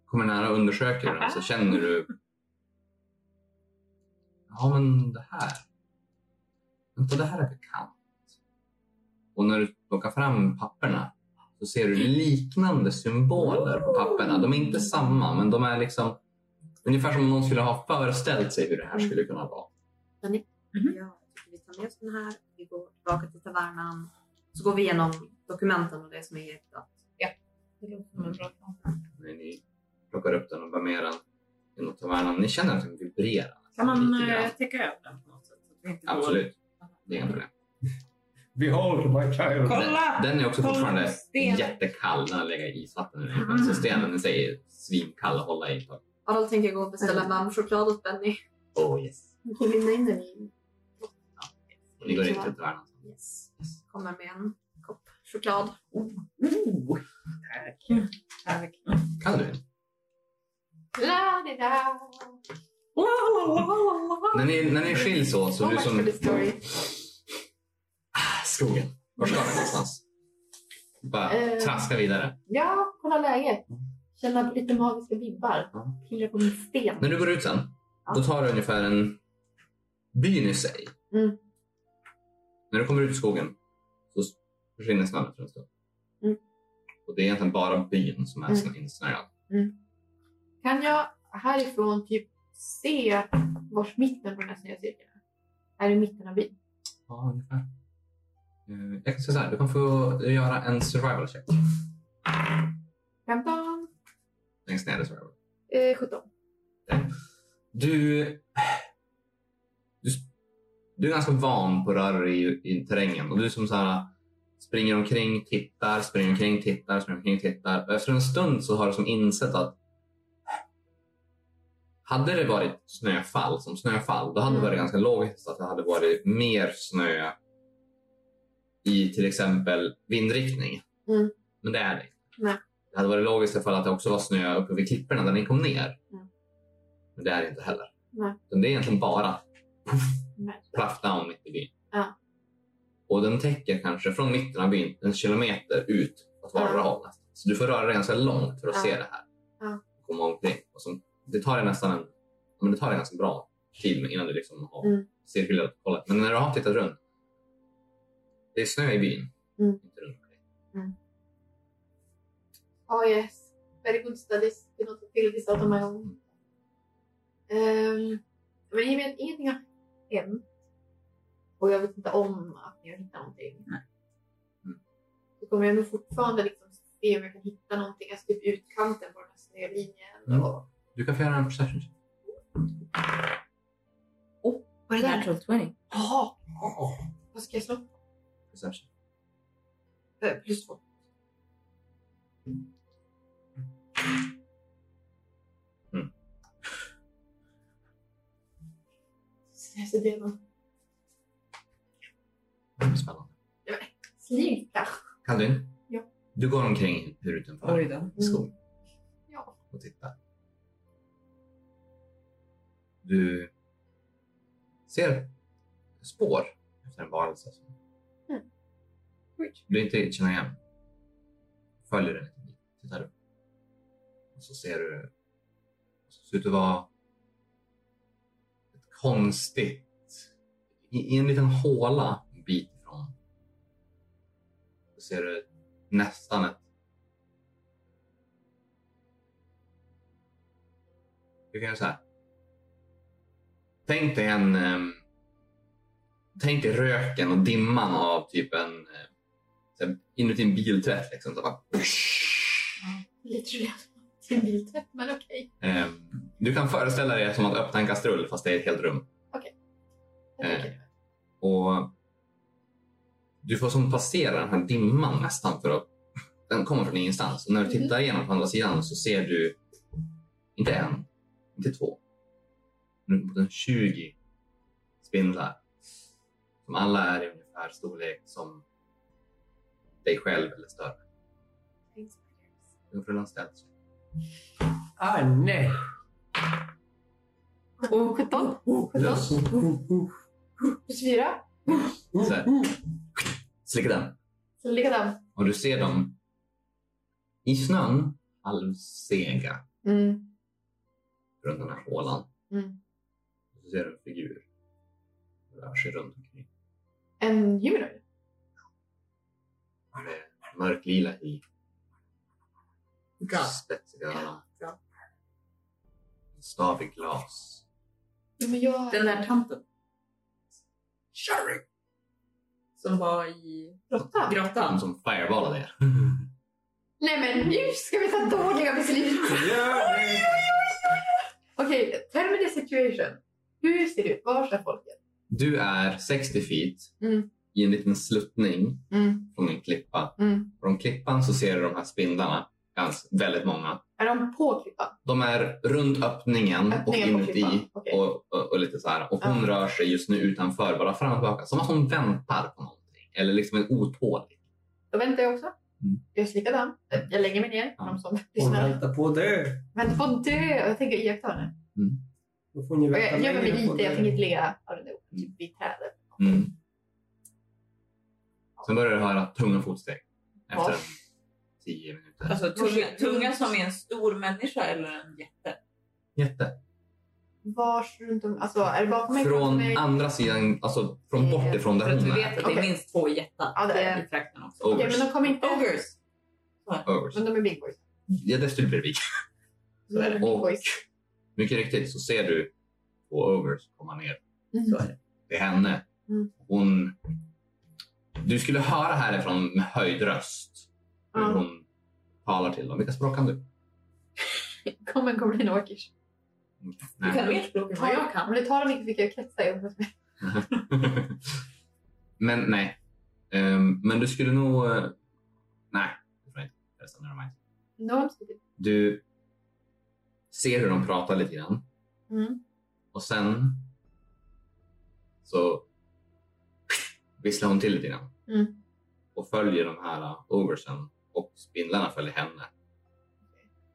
S3: kommer nära och undersöker den så känner du... Ja, men det här. Vänta, det här är bekant. Och när du plockar fram papperna så ser du liknande symboler på papperna. De är inte samma, men de är liksom ungefär som om någon skulle ha föreställt sig hur det här skulle kunna vara.
S2: Mm.
S5: Ja, jag tycker vi tar med oss den här. Vi går tillbaka till tavernan. Så går vi igenom dokumenten och det som är hittat.
S2: Det låter som en bra plan.
S3: när ni plockar upp den och bär med den genom tavernan. Ni känner att den vibrerar.
S2: Kan man
S3: Lite grann.
S2: eh, täcka över den på något sätt? Så att vi inte går-
S3: Absolut. Det är inga problem.
S4: Behold my child!
S2: Kolla!
S3: Den är också
S2: Kolla Mm.
S3: fortfarande
S2: stenen.
S3: jättekall när den lägger i isvatten. i den. Så stenen i sig är svinkall att hålla i ett tag.
S5: Adolf tänker gå och beställa en varm choklad åt Benny.
S3: Oh yes.
S1: Ni kan linda in den i...
S3: Ni går in till tavernan.
S5: Yes.
S1: Mm.
S5: Kommer med en kopp choklad.
S2: Oh, tack.
S1: Mm.
S2: Tack.
S3: Kan du?
S1: La, di, da.
S2: La, la, la, la, la.
S3: När ni, när ni skiljs åt så
S2: Oh,
S1: So much
S3: du
S1: for
S3: som...
S1: the story.
S3: Ah, skogen. Var ska ni någonstans? Bara
S1: Eh.
S3: traska vidare.
S1: Ja, kolla läget. Känna på lite magiska vibbar.
S3: Mm. Ja.
S1: Pillra på min sten.
S3: När du går ut sen,
S1: Ja.
S3: då tar det ungefär en... Byn i sig.
S1: Mm.
S3: När du kommer ut i skogen så försvinner snön för en stund.
S1: Mm.
S3: Och det är egentligen bara byn som är
S1: Mm.
S3: mm. insnöad.
S1: Kan jag härifrån typ se vars mitten på den här sneda cirkeln är? Är det mitten av byn?
S3: Ja, ungefär. Eh, Jag kan säga så här, du kommer få göra en survival check.
S1: 15?
S3: Längst ner i survival.
S1: Eh, 17.
S3: Du, du, du är ganska van på att röra dig i, i terrängen och du som så här springer omkring, tittar, springer omkring, tittar, springer omkring, tittar. Och efter en stund så har du som insett att hade det varit snöfall som snöfall, då hade det
S1: Mm.
S3: varit ganska logiskt att det hade varit mer snö i till exempel vindriktning.
S1: Mm.
S3: Men det är det
S1: Nej.
S3: Det hade varit logiskt ifall att det också var snö uppe vid klipporna där ni kom ner. Men det är det inte heller.
S1: Nej.
S3: Utan Det är egentligen bara puff,
S1: Nej.
S3: plaff down mitt i byn.
S1: Ja.
S3: Och den täcker kanske från mitten av byn en kilometer ut åt vardera
S1: Ja.
S3: hållet. Så du får röra dig ganska långt för att
S1: Ja.
S3: se det här.
S1: Ja.
S3: Komma omkring. Och så, det tar dig nästan en, ja, men det tar dig ganska bra tid innan du liksom har
S1: Mm.
S3: cirkulerat åt hållet. Men när du har tittat runt. Det är snö i byn.
S1: Mm.
S3: Inte runt omkring.
S1: Oh yes. Very good studies. Did not feel this out on my own. Ehm, men i och med att ingenting har hänt och jag vet inte om att ni har hittat någonting.
S2: Nej.
S3: Mm.
S1: Så kommer jag nog fortfarande liksom se om jag kan hitta någonting. Alltså typ utkanten på den här snölinjen.
S3: Mm.
S1: Och...
S3: Du kan få göra en perception check.
S1: Vad är det där?
S2: 20.
S1: Jaha! Vad ska jag slå?
S3: Perception.
S1: Eh, Plus två.
S3: Mm.
S1: Så det var
S3: Spännande.
S1: slita.
S3: Kan du?
S1: Ja.
S3: Du går omkring här utanför.
S2: Oj då.
S3: i skogen.
S1: Mm. Ja.
S3: Och titta. Du ser spår efter en varelse. som
S1: Mm.
S3: Du inte riktigt känner igen. Följer den lite bit. Tittar upp. Och så ser du. Det ser ut att vara ett konstigt. I, I en liten håla en bit ifrån. Så ser du nästan ett Vi kan göra så här. Tänk dig en... ehm, tänk dig röken och dimman av typ en eh, så här, inuti en biltvätt. Liksom, så bara,
S1: Lite roligare till biltvätt, men okej.
S3: eh, du kan föreställa dig som att öppna en kastrull fast det är ett helt rum.
S1: Jag tycker
S3: Eh.
S1: det.
S3: Och du får som passera den här dimman nästan för att den kommer från ingenstans. Och när du tittar igenom på andra sidan så ser du inte en, inte två, men uppemot en 20 spindlar. Som alla är i ungefär storlek som dig själv eller större. Du får rulla en stealth.
S6: Ah, nej.
S1: Oh, 17
S3: Plus,
S1: plus 4.
S3: så här. Slicka den.
S1: Så likadan.
S3: Och du ser dem i snön halvsega
S5: Mm.
S3: runt den här hålan.
S5: Mm.
S3: Och så ser du en figur rör sig runt omkring.
S1: En humanoid.
S3: Och Det är mörklila i
S6: God.
S3: spetsiga öron. En Stav i glas.
S1: Ja, men jag...
S2: Den där tanten
S6: Sherry.
S2: som var i
S1: Råtta?
S3: Han
S2: grottan.
S3: som fireballade er.
S1: Nej men nu ska vi ta dåliga beslut. Okej, tell me the situation. Hur ser det ut? Var är folket?
S3: Du är 60 feet
S5: Mm.
S3: i en liten sluttning
S5: Mm.
S3: från en klippa.
S5: Mm.
S3: Från klippan så ser du de här spindlarna. Ganska, väldigt många.
S1: Är de på klippan?
S3: De är runt öppningen och
S1: Öppningen på
S3: inuti.
S1: klippan? Okej.
S3: och, och, och lite så här. Och hon
S1: Ja.
S3: rör sig just nu utanför, bara fram och tillbaka. Som att hon väntar på någonting. Eller liksom är otålig.
S1: Då väntar jag också. Jag är likadan. Jag lägger mig ner.
S3: Mm. Ja.
S1: De som
S6: Hon
S1: lyssnar.
S6: väntar på det.
S1: Vänta på att dö. Jag tänker iaktta henne.
S6: Då får ni
S1: Och
S6: vänta
S1: Jag gömmer mig
S6: längre på
S1: lite. Jag
S6: det.
S1: tänker inte ligga ja, det är okej, typ vid trädet.
S3: Mm. Sen börjar du höra tunga fotsteg. Efter
S1: Ja.
S3: en tio minuter.
S2: Alltså tunga, tunga som är en stor människa eller en jätte.
S3: Jätte.
S1: Vars runt om? Alltså är det bakom mig? framför
S3: Från
S1: mig?
S3: andra sidan, alltså från
S1: Eh,
S3: bort ifrån
S2: För
S3: där
S2: att vi
S3: hon
S2: vet
S3: är.
S2: att det är
S1: Okej.
S2: minst två jättar
S1: Ja, det är
S2: i trakten också.
S1: Okej,
S3: Ogers.
S1: men de kommer inte...
S2: Ogers!
S3: Ogers.
S1: Men de är big boys.
S3: Ja, desto bredvid.
S1: De är big
S3: Och-
S1: boys.
S3: Mycket riktigt så ser du två ogers komma ner.
S1: Mm.
S2: Så är det.
S3: Det är henne.
S1: Mm.
S3: Hon... Du skulle höra härifrån med höjd röst hur
S1: Ja.
S3: hon talar till dem. Vilka språk kan du?
S1: Kom en goblin åkers.
S2: Du
S3: Nej.
S2: kan mer språk än vad jag kan.
S1: Om du tar dem fick jag kretsa i huvudet.
S3: men nej. Ehm, men du skulle nog... eh, nej, det tror jag inte. Förresten, never mind.
S1: Någon stupid.
S3: Du ser hur de pratar lite grann.
S1: Mm.
S3: Och sen så visslar hon till lite grann.
S1: Mm.
S3: Och följer de här eh, oversen och spindlarna följer henne.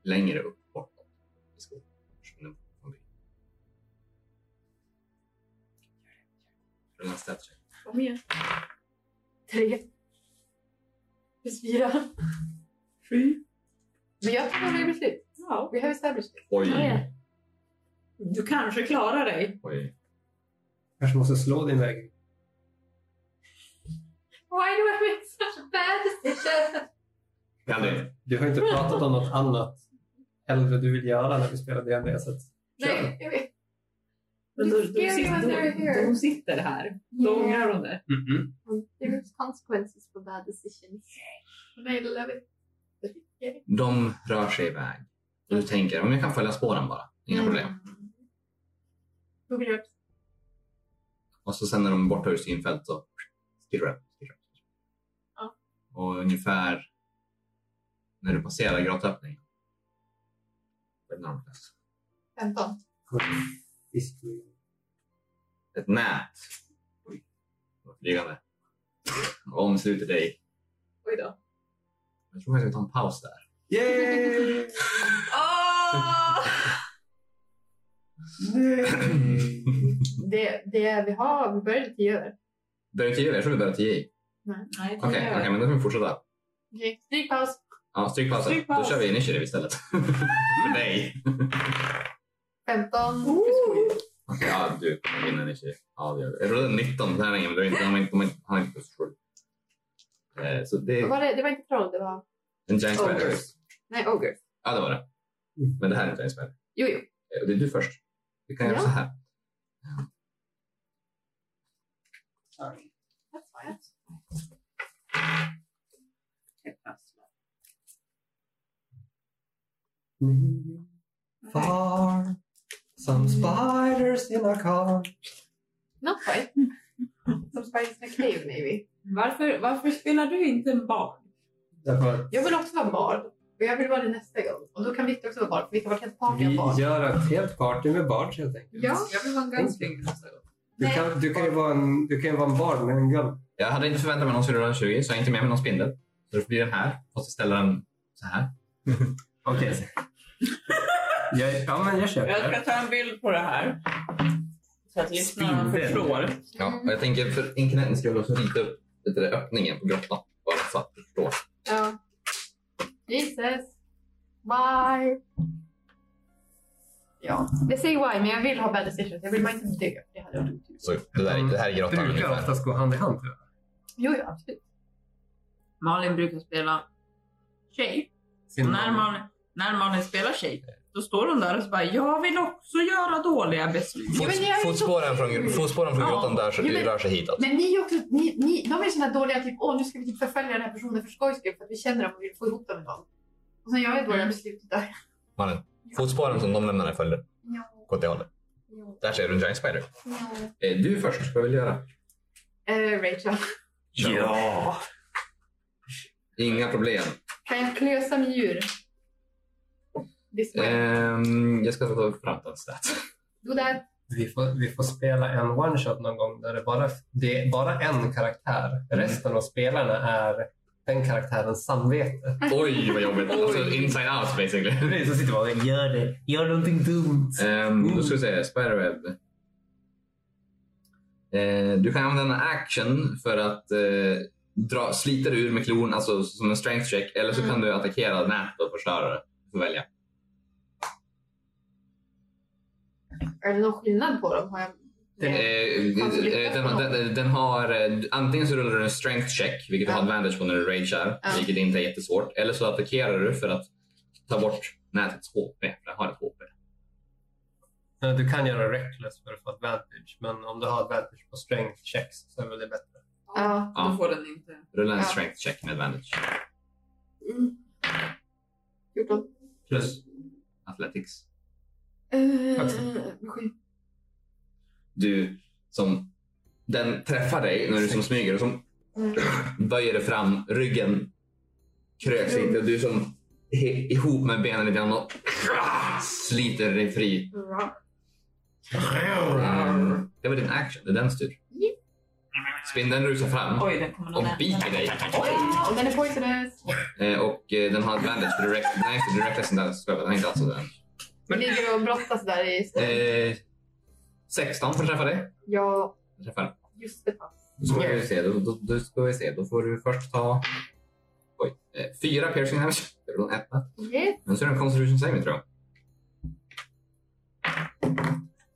S3: Längre upp bortåt i skogen. Försvinner bort från byn. Rulla en stats check.
S1: Kom igen. Tre. Plus fyra. Sju. Men jag tar några beslut.
S2: Ja.
S1: Vi har established it.
S3: Oj.
S2: Ja, ja. Du kanske klarar dig.
S3: Oj.
S4: Kanske måste slå din väg.
S1: Why do I make such a bad decision?
S3: Gandhi.
S4: Du har inte pratat om något annat hellre du vill göra när vi spelar D&D så att
S1: Nej, jag vet.
S2: Men då, då,
S1: Scary
S2: sitter,
S1: when they're here.
S2: då, de sitter här. Då ångrar de det.
S4: Mm-mm.
S5: There's consequences for bad decisions.
S1: Nej, det lär vi.
S3: De rör sig iväg. Och du tänker, om jag kan följa spåren bara. Inga problem.
S1: Who can help?
S3: Och så sen när de är borta ur synfält så stirrar de. stirrar de.
S1: Ja.
S3: Och ungefär när du passerar grottöppningen. Ett namnlöst.
S1: 15.
S4: Visst.
S3: Ett nät. Oj. det var Flygande. Och omsluter dig.
S2: Oj då.
S3: Jag tror faktiskt vi tar en paus där.
S6: Yay! Nej.
S1: Det, det vi har, vi började tio över.
S3: Börjar tio? Jag tror vi börjar tio i.
S2: Nej, det
S3: Okej,
S2: gör
S3: okej,
S2: jag.
S3: men då får vi fortsätta.
S1: Okej, stryk paus.
S3: Ja, stryk pausen.
S2: Stryk
S3: Då
S2: paus.
S3: kör vi initiativ istället. För dig.
S1: 15 plus 7.
S3: Okej, ja, du kommer vinna en tjej. Ja, det gör du. Jag rullade 19 tärningar, men du är inte, han har inte, han har inte- han har inte plus 7. Eh, så det är
S1: Var det, det var inte troll, det var...
S3: en giant
S1: Ogre.
S3: spider.
S1: Nej, ogre.
S3: Ja, det var det.
S4: Mm.
S3: Men det här är inte en spider.
S1: Jo, jo.
S3: Eh, Det är du först. Vi kan göra
S1: Ja.
S3: så här.
S7: Sorry.
S1: That's fine.
S7: Ett fastslag.
S4: Far, some spiders in a car.
S1: Not quite. Som Spiders in a Cave maybe.
S7: Varför, varför spelar du inte en bard?
S4: Därför
S1: Jag vill också vara bard. Och jag vill vara det nästa gång. Och då kan Victor också vara bard. För vi kan vara ett helt party av bard.
S4: vi gör ett helt party med bards helt enkelt.
S1: Ja.
S2: Jag vill ha en gunslinger nästa gång.
S4: Du kan, du kan ju vara en, du kan ju vara en bard med en gun.
S3: Jag hade inte förväntat mig någon skulle rulla en 20 så jag är inte med mig någon spindel. Så det blir den här. Fast ställa den så här.
S4: Okej. Jag- Ja, men jag köper
S2: Jag
S4: det.
S2: ska ta en bild på det här. Så att lyssnarna
S4: Spindel.
S2: förstår.
S3: Ja, och jag tänker för internetens skull också rita upp lite där öppningen på grottan. Bara så att du förstår.
S1: Ja. Jesus. Bye. Ja, det säger why, men jag vill ha bad decisions. Jag vill bara inte dö. Det hade varit otur.
S3: Så det, där, det här är grottan
S4: Brukar
S3: ungefär.
S4: oftast gå hand i hand. tror jag.
S1: Jo, ja, absolut.
S2: Malin brukar spela tjej.
S4: Sin
S2: När
S4: man.
S2: Malin, när Malin spelar tjej, då står hon där och så bara “Jag vill också göra dåliga beslut”.
S1: Jo, men det är ju så
S3: Fotspåren från,
S1: kul.
S3: fotspåren från
S2: Ja.
S3: grottan där så,
S1: Jo, men-
S3: rör sig hitåt.
S1: Men ni är också, ni, ni, de är sådana dåliga, typ åh nu ska vi typ förfölja den här personen för skojs skull för att vi känner dem och vill få ihop dem med dem. Och sen gör jag dåliga
S2: Mm.
S1: beslut där.
S3: Mannen, fotspåren som de lämnade följer
S1: Ja.
S3: gå åt det hållet.
S1: Ja.
S3: Där ser du en giant spider.
S1: ja.
S3: Eh, Du först, vad vill du göra?
S1: Eh, Rachel,
S3: Ja! Inga problem.
S1: kan jag klösa med djur? This way.
S3: Ehm, jag ska ta fram den stat.
S1: Do that.
S4: Vi får, vi får spela en one shot någon gång där det bara, det är bara en karaktär. Resten av spelarna är den karaktärens samvete.
S3: Oj, vad jobbigt. Alltså, inside out basically.
S4: Så sitter man och gör det. Gör någonting dumt.
S3: Um, då ska vi se, Spiderweb. Eh, du kan använda en action för att eh, dra, slita dig ur med klon, alltså som en strength check. Eller så
S1: Mm.
S3: kan du attackera nätet och förstöra det. Du får välja.
S1: Är det någon skillnad på dem? Har jag...
S4: Det-
S1: Nej.
S3: Eh,
S1: Alltså,
S3: eh, den, den, den har, eh, antingen så rullar du en strength check, vilket du
S1: Ja.
S3: har advantage på när du ragear,
S1: Ja.
S3: vilket inte är jättesvårt. Eller så attackerar du för att ta bort nätets HP, för den har ett HP.
S4: Nej, Du kan göra reckless för att få advantage, men om du har advantage på strength checks så är väl det bättre.
S1: Ja.
S3: Ja.
S2: Då får den inte.
S3: Rulla en
S1: Ja. Mm.
S3: strength check med advantage.
S1: 14.
S3: Plus athletics.
S1: Eh, sju.
S3: du som den träffar dig när du som smyger och som
S1: Mm.
S3: böjer dig fram, ryggen kröks lite och du som he- ihop med benen lite grann och sliter dig fri.
S1: Bra.
S3: Ehm, Det var din action, det är den styr. Spindeln rusar fram
S2: Oj, den kommer någon
S3: och
S2: nära.
S3: biter dig.
S1: Ja, och den är poisonous.
S3: Eh, Och eh, den har advantage för direct... Nej, just det, direct lesson där. Den har inte alls den.
S1: Men ligger och brottas där i stället.
S3: Eh, 16 för att träffa dig.
S1: Ja,
S3: Den Träffar.
S1: just det. fan.
S3: Då ska, vi se. Då, då, då ska vi se. Då får du först ta... Oj. Eh, fyra piercing damage. Det är en etta.
S1: Yes.
S3: Men så är det en constitution saving tror jag.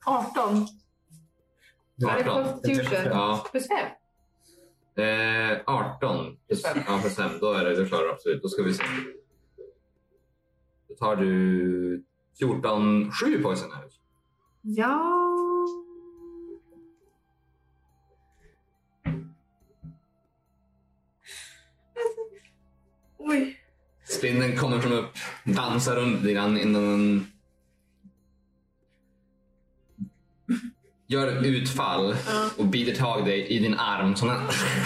S1: 18.
S4: Du
S1: Ja, det är
S3: 18.
S4: typ-
S1: Constitution.
S3: Ja.
S1: Plus 5.
S3: Eh, 18 plus, ja, plus 5. Då är det, då klarar du absolut. Då ska vi se. Då tar du 14, 7 poison damage.
S1: Ja. Oj.
S3: Spindeln kommer från upp, dansar runt lite grann innan den gör ett utfall och biter tag i dig i din arm som den,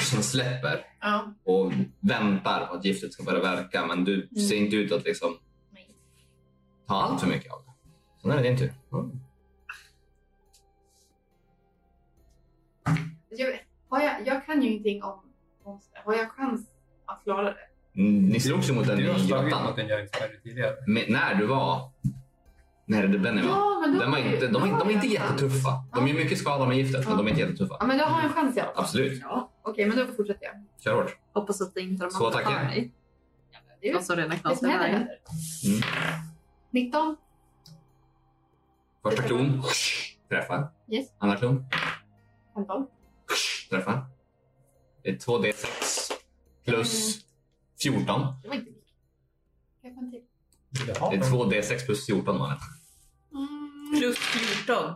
S3: som den släpper.
S1: Ja.
S3: och väntar på att giftet ska börja verka men du
S1: Mm.
S3: ser inte ut att liksom ta allt för mycket av det. Så nu är det din tur.
S1: Jag, har jag, jag kan ju ingenting om monster. Har jag chans att klara det?
S3: Mm, Ni slogs ju mot den
S4: Du har
S3: i
S4: slagit mot
S3: grottan.
S4: en giant spider tidigare.
S3: Men När du var... När det den var.
S1: men
S3: Den var inte, de, är inte- de är inte jättetuffa. De gör mycket skada med giftet men de är inte jättetuffa.
S1: Ja, men då har jag en chans i alla fall.
S3: Absolut.
S1: Ja, okej, men då fortsätter jag.
S3: Kör hårt.
S5: Hoppas att det inte de
S3: Så,
S5: andra tar
S3: tackar.
S5: mig.
S1: Det är ju
S5: De som redan
S1: det som
S5: knasar
S1: händer.
S5: iväg.
S1: händer.
S3: Mm.
S1: 19.
S3: Första klon. Träffar.
S1: Yes.
S3: Andra klon.
S1: 15.
S3: Träffar. Det är 2D6 plus 14.
S1: Det var inte mycket. Jag kan till.
S4: Vill du
S3: Det
S4: ha
S3: är
S4: den?
S3: 2D6 plus 14 mannen.
S1: Mm.
S2: Plus 14.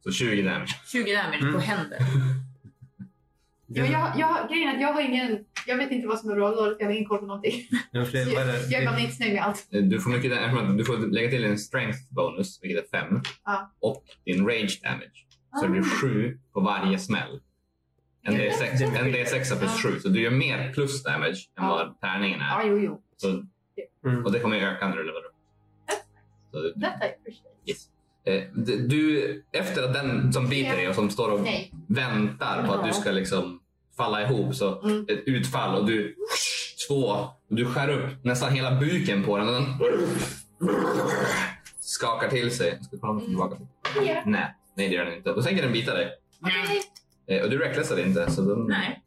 S3: Så 20 damage.
S2: 20 damage på
S4: Mm.
S2: händer.
S1: Ja, men jag, jag, grejen är att jag har ingen... Jag vet inte vad som är bra och dåligt. Jag har ingen koll på någonting.
S3: Nej, men för det-
S1: Så
S3: vad är det?
S1: Jag är inte snygg med allt.
S3: Eh, Du får, mycket, eftersom att du får lägga till en strength bonus, vilket är fem,
S1: Ja. Ah.
S3: och din rage damage. Så det blir sju på varje smäll. En
S1: Ja.
S3: D6, en D6 plus
S1: Ja.
S3: sju, så du gör mer plus damage än
S1: Ja.
S3: vad tärningen
S1: Ja,
S3: är.
S1: jo, jo.
S3: Så,
S4: Mm.
S3: och det kommer ju öka när du levelar upp. Så du-
S1: Detta är för sig.
S3: eh, d- du, efter att den som biter dig och som står och
S1: Nej.
S3: väntar på att du ska liksom falla ihop så
S1: Mm.
S3: ett utfall och du två och du skär upp nästan hela buken på den och den skakar till sig. Jag ska kolla om den kommer tillbaka.
S1: Ja.
S3: Nej, nej det gör den inte. Då tänker den bita dig.
S1: Okej.
S3: Eh, Och du recklessade inte så den
S2: Nej.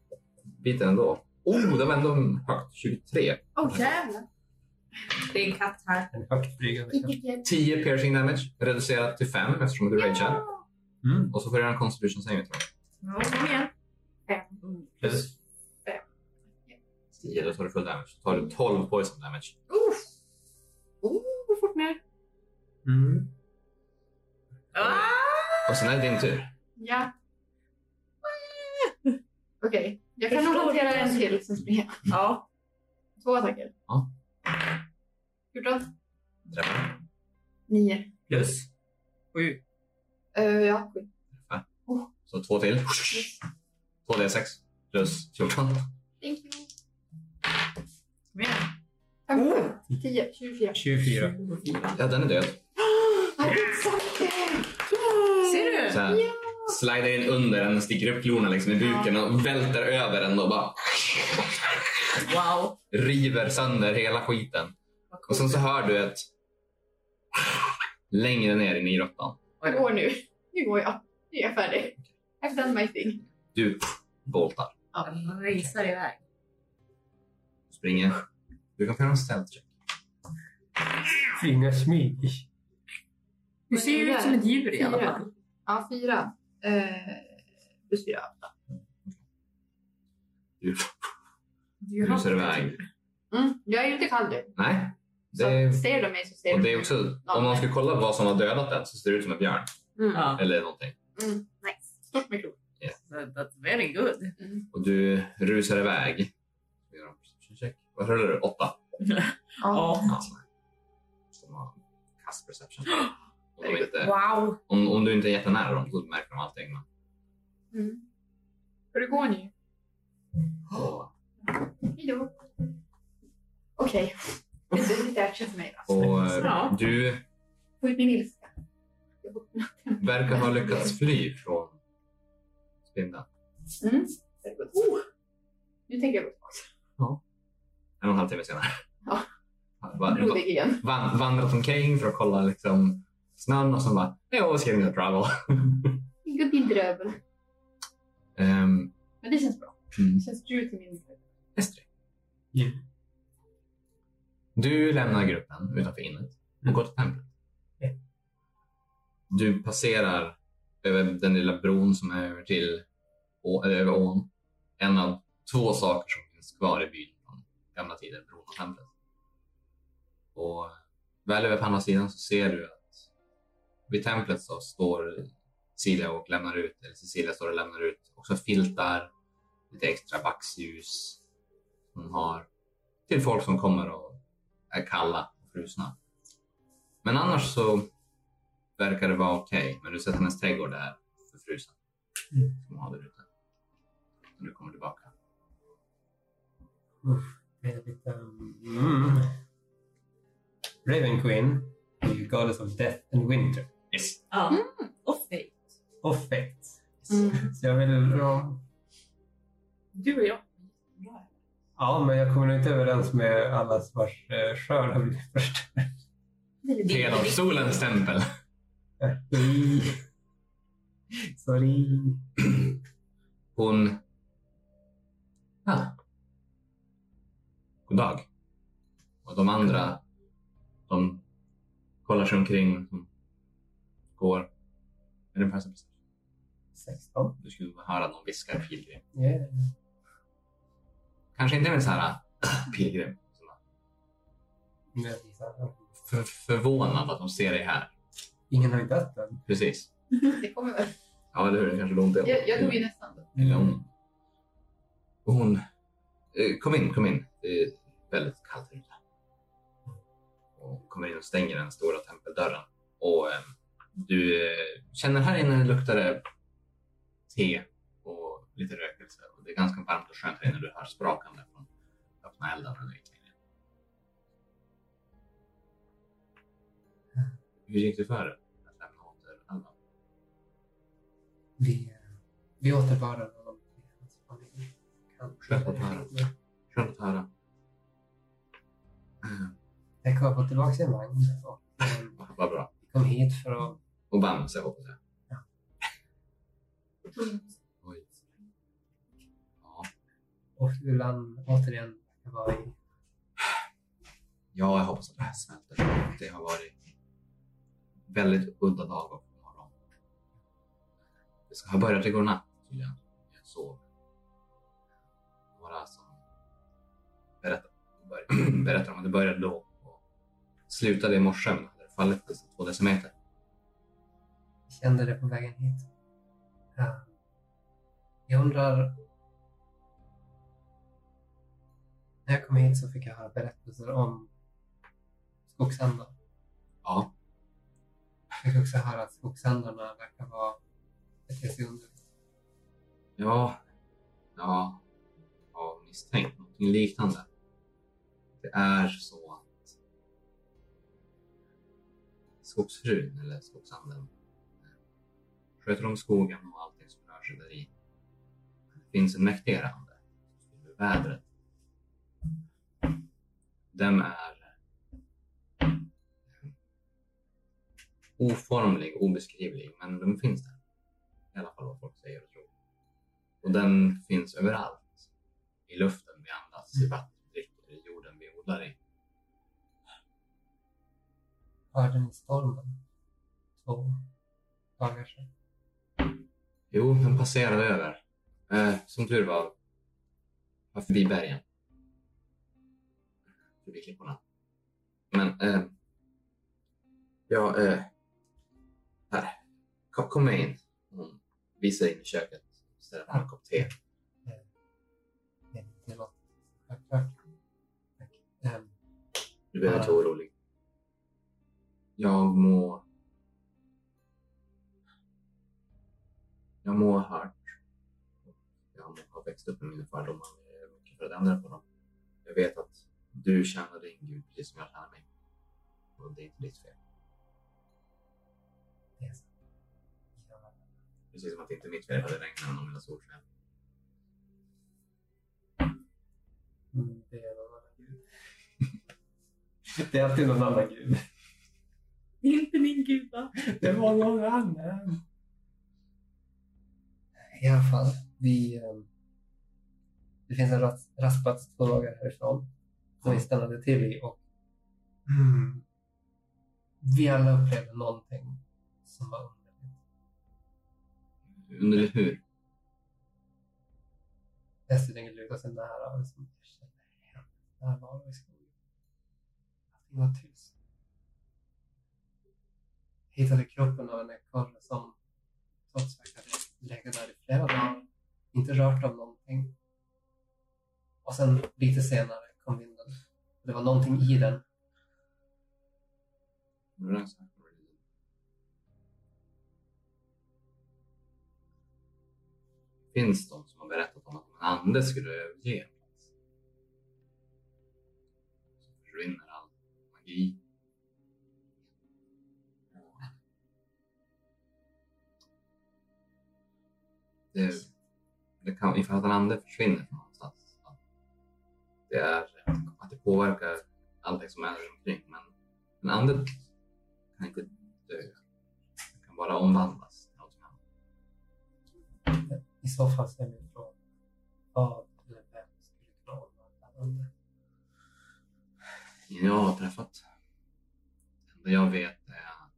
S3: biter ändå. Oh, den vände om högt. 23.
S1: Åh, jävlar.
S7: Det är en katt här.
S4: En högt flygande katt.
S3: 10 piercing damage reducerat till 5 eftersom du ragear.
S4: Mm,
S3: Och så får du göra en constitution saving throw.
S2: Ja, kom igen.
S3: Plus
S1: Fem.
S3: 10, då tar du full damage. Då tar du 12 poison damage.
S1: Gå fort ner.
S4: Mm.
S2: Ah!
S3: Och sen är det din tur.
S1: Ja. Okej, jag kan nog hantera en till sen springer jag.
S2: Ja.
S1: Två attacker.
S3: Ja.
S1: 14.
S3: Träffar.
S1: 9.
S3: Plus.
S2: Sju.
S1: Eh, ja, sju.
S3: Så två till. Två D6 plus 14.
S1: Thank you.
S2: Kom igen.
S3: Oh!
S1: 15. 10. 24.
S4: 24.
S3: Ja, den är död.
S2: Ser du?
S3: Så här, slider in under den, sticker upp klorna liksom i buken och välter över den och bara
S2: Wow.
S3: river sönder hela skiten.
S2: Vad coolt.
S3: Och sen så hör du ett längre ner in i grottan.
S2: Oj
S1: Jag
S2: då.
S1: går nu. Nu går jag. Nu är jag färdig. I've done my thing.
S3: Du voltar.
S2: Den Rusar iväg.
S3: Springer. Du kan få göra en stealth check.
S4: Flyga smyg.
S2: Du ser ju ut som ett djur i alla fall.
S1: Ja, fyra. Eh, plus fyra.
S3: Du
S2: Du har-
S3: rusar iväg.
S1: Mm. Jag är ju inte kall nu.
S3: Nej.
S1: Så
S3: Det,
S1: ser de mig så ser
S3: och
S1: de
S3: det är
S1: mig.
S3: också, om någon skulle kolla vad som har dödat den så ser det ut som en björn.
S5: Mm.
S2: Ja.
S3: Eller någonting.
S5: Mm. Nice.
S1: Stort med klor.
S2: så That's very good.
S3: Och du rusar iväg. Vi gör en perception check. Vad rullar du? Åtta?
S1: Ja.
S2: Ja.
S3: Som har Kast perception. Om,
S1: Very
S3: de
S1: good.
S3: inte,
S2: Wow.
S3: om, om du inte är jättenära dem så märker de allting. Men,
S1: Mm. Hur det går nu?
S3: eh,
S1: Hejdå. Okej. Det är lite action för mig. Alltså.
S3: och eh,
S2: Ja.
S3: du
S1: Få ut min ilska.
S3: verkar ha lyckats fly från spindeln.
S1: Mm. Very good. Oh. Nu tänker jag gå tillbaka.
S3: En och en halv timme senare.
S1: Ja.
S3: Va- va-
S1: Blodig igen.
S3: van- vandrat omkring för att kolla liksom, snön och sen bara, jag was getting a travel.
S1: Gubbe i drövel.
S3: Ehm,
S1: Men det känns bra.
S3: Mm.
S1: Det känns true till min
S3: Estrid.
S4: Ja.
S3: Du lämnar gruppen utanför innet och går till templet.
S4: Mm. Ja.
S3: Du passerar över den lilla bron som är över till å- eller över ån. En av två saker som finns kvar i byn från gamla tider, bron och templet. Och väl över på andra sidan så ser du att vid templet så står Cecilia och lämnar ut, eller Cecilia står och lämnar ut också filtar, lite extra vaxljus hon har till folk som kommer och är kalla och frusna. Men annars så verkar det vara okej. Men du ser att hennes trädgård är förfrusen.
S4: Mm.
S3: Som hon har där ute. När du kommer tillbaka.
S4: Väldigt, ehm, Mm. Raven Queen, the goddess of death and winter.
S3: Yes.
S2: Ja. Och fej.
S4: Och fate.
S5: Mm.
S4: Så jag vill... ja,
S2: Du och jag.
S4: Ja, men jag kommer nog inte överens med allas vars eh, skörd har blivit förstörd.
S3: Del av solens tempel.
S4: Sorry. Sorry.
S3: Hon... Ah. God dag. Och de andra, de kollar sig omkring. De går. Är det en person?
S4: 16.
S3: Du skulle höra någon viskar pilgrim.
S4: Yeah.
S3: Kanske inte med så här pilgrim.
S4: Men så här,
S3: För, förvånad att de ser dig här.
S4: Ingen har ju dött än.
S3: Precis.
S1: Det kommer väl.
S3: Ja, eller hur? Det kanske låg ont i
S4: Mm.
S1: Jag, jag dog ju nästan. då.
S3: Eller hon. Och hon... eh, Kom in, kom in. Det är väldigt kallt ute. Och hon kommer in och stänger den stora tempeldörren. Och eh, du eh, känner här inne luktar det te och lite rökelse. Och det är ganska varmt och skönt här inne. Du hör sprakande från öppna eldar och liknande. Hur gick det för er att lämna åter alla?
S4: Vi, vi återvarar honom.
S3: Skönt att höra. Skönt att höra. Eh,
S4: Jag kom på tillbaka till en vagn och um,
S3: Vad bra.
S4: kom hit för att...
S3: Och Bamse hoppas jag. Oj. Ja.
S4: Och Fulan återigen verkar vara i...
S3: ja, jag hoppas att det här smälter. Det har varit väldigt udda dagar på morgonen. Det ska ha börjat igår natt tydligen. Jag sov. Några som berättar, bör- berättar om att det började då och slutade i morse men hade fallit nästan två decimeter.
S4: kände det på vägen hit. Ja. Jag undrar... När jag kom hit så fick jag höra berättelser om skogsändar.
S3: Ja.
S4: Jag fick också höra att skogsändarna verkar vara bete sig underligt.
S3: Ja, ja, ja, misstänkt någonting liknande. Det är så att skogsfrun eller skogsanden sköter om skogen och allting som rör sig där i. Det finns en mäktigare ande, som styr vädret. Den är eh, oformlig, obeskrivlig, men den finns där. I alla fall vad folk säger och tror. Och den finns överallt. I luften vi andas, i vattnet vi dricker, i jorden vi odlar i.
S4: Hörde ni stormen? Två dagar sedan.
S3: Jo, den passerade över. Eh, som tur var, var förbi bergen. Förbi klipporna. Men, eh, ja, eh, här. Kom, kom med in. Hon visar in i köket. Ställer fram en kopp te.
S4: Det är inte något självklart. Tack. Ehm,
S3: Du behöver inte
S4: Ja.
S3: vara orolig. Jag må... Jag må ha hört. Jag må ha växt upp med mina fördomar. men Jag är mycket för att ändra på dem. Jag vet att du tjänar din gud precis som jag tjänar mig. Och det är inte ditt fel.
S4: det är så. Ja.
S3: Precis som att det inte är mitt fel att det regnar någon mina solsken.
S4: Mm, Det är någon annan gud. Det är alltid någon annan gud.
S2: Det är inte min guda.
S4: Det var någon annan. I alla fall, vi... eh, Det finns en ras- rastplats två dagar härifrån som vi stannade till i och mm, vi alla upplevde någonting som var underligt.
S3: Underligt hur?
S4: Dessutom lutade sig nära och liksom, jag kände hem. Där var vi i skogen. Allting var tyst. Jag hittade kroppen av en ekorre som trots att jag hade legat där i flera dagar, inte rört av någonting. Och sen lite senare kom vinden. Det var någonting i den.
S3: Nu har jag sagt vad det är. Finns de som har berättat om att om en ande skulle överge en plats? Så försvinner all magi. Det, det kan, ifall att en ande försvinner från någonstans. att Det är att det påverkar allting som är runt omkring. Men en ande kan inte dö. Den kan bara omvandlas till något annat.
S4: I så fall så är min fråga, vad eller vem skulle kunna ordna det?
S3: Ingen jag har träffat. Det enda jag vet är att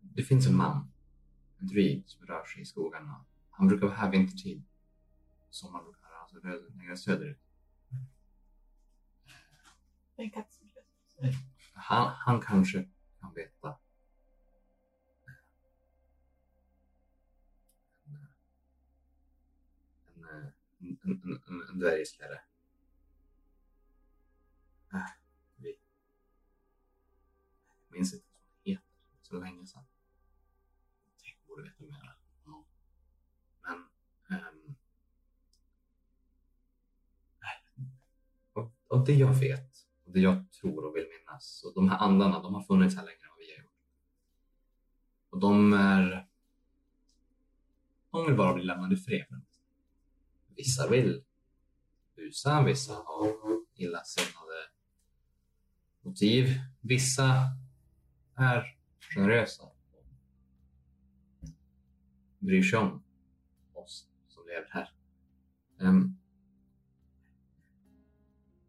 S3: det finns en man, en druid, som rör sig i skogarna. Han brukar vara här vintertid. Sommaren brukar han alltså rö- längre söderut.
S1: Det är en katt som klös.
S3: Han, han kanske kan veta. en, en, en, en dvärgskläder. Äh, vi... Jag minns inte vad hon heter, så länge sedan. Jag borde veta mer om honom. Men... ehm, äh, och, och det jag vet, och det jag tror och vill minnas, och de här andarna, de har funnits här längre än vad vi har gjort. Och de är... De vill bara bli lämnade i fred. Vissa vill busa, vissa har illasinnade motiv. Vissa är generösa och bryr sig om oss som lever här. Ehm,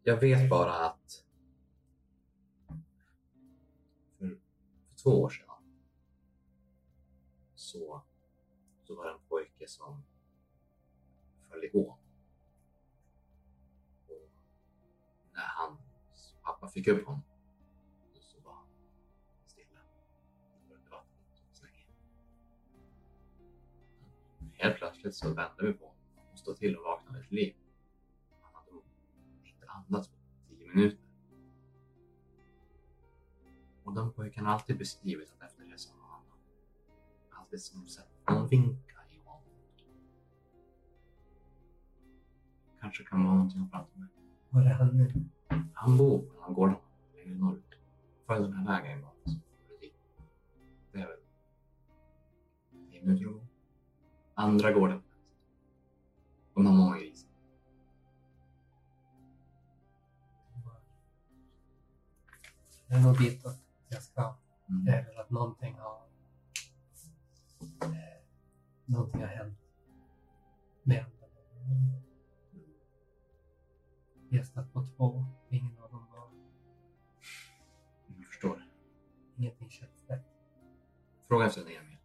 S3: jag vet bara att för, för två år sedan så, så var det en pojke som föll i hån. Och när hans pappa fick upp honom så var han stilla. Han var under vattnet så länge. Helt plötsligt så vände vi på honom och stod till och vaknade till liv. Han hade inte andats på tio minuter. Och den pojken har alltid beskrivit att efter det så har han alltid som sett någon vinka i honom. Kanske kan vara någonting att prata med.
S4: Var är han nu?
S3: Han bor på den här gården längre norrut. Följ den här vägen bara så kommer du dit. Det är väl tio minuter att gå. Andra gården. De har många grisar.
S4: Det är nog ditåt jag ska.
S3: Mm.
S4: Det är väl att någonting har... Eh, någonting har hänt. Med andarna. Gästat på två. Ingen av dem var...
S3: Jag förstår.
S4: Ingenting känns rätt.
S3: Fråga efter den Emil.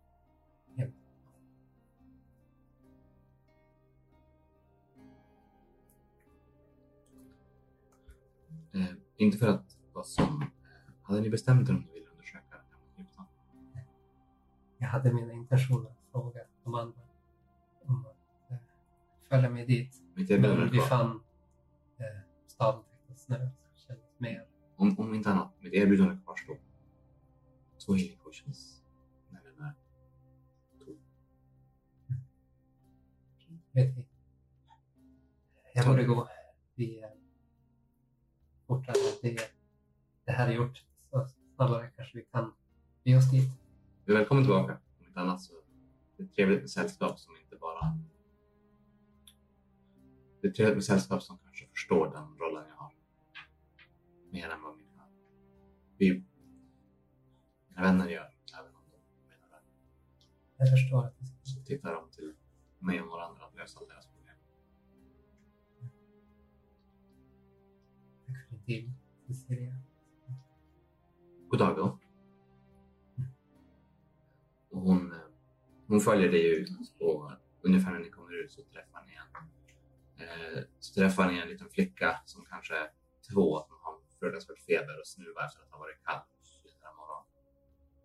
S3: Eh, inte för att vara sån. Eh, hade ni bestämt er om ni ville undersöka den här manuskriptan?
S4: Jag hade mina intentioner att fråga de andra om att eh, följa mig dit.
S3: Mitt
S4: Men
S3: erbjudande
S4: vi
S3: kvar.
S4: fann eh, staden täckt av snö. så det kändes mer.
S3: Om, om inte annat, mitt erbjudande kvarstår. Två healing potions. När den är tom.
S4: Vet ni. Jag borde gå. Vi eh, fortare. Det, det här är gjort. Så snabbare kanske vi kan be oss dit.
S3: Du är välkommen tillbaka. Om inte annat så det är trevligt med sällskap som inte bara... Det är trevligt med sällskap som kanske förstår den rollen jag har. Mer än vad mina, vi, mina vänner gör. Även om de menar det.
S4: Jag förstår att det ska
S3: Så tittar de till mig och några andra att lösa deras problem.
S4: bli till. Cecilia.
S3: God dag då. Och hon, eh, hon följer dig ut och ungefär när ni kommer ut så träffar ni en, eh, så träffar ni en liten flicka som kanske är två som har fruktansvärt feber och snuva efter att ha varit kall i den här morgonen.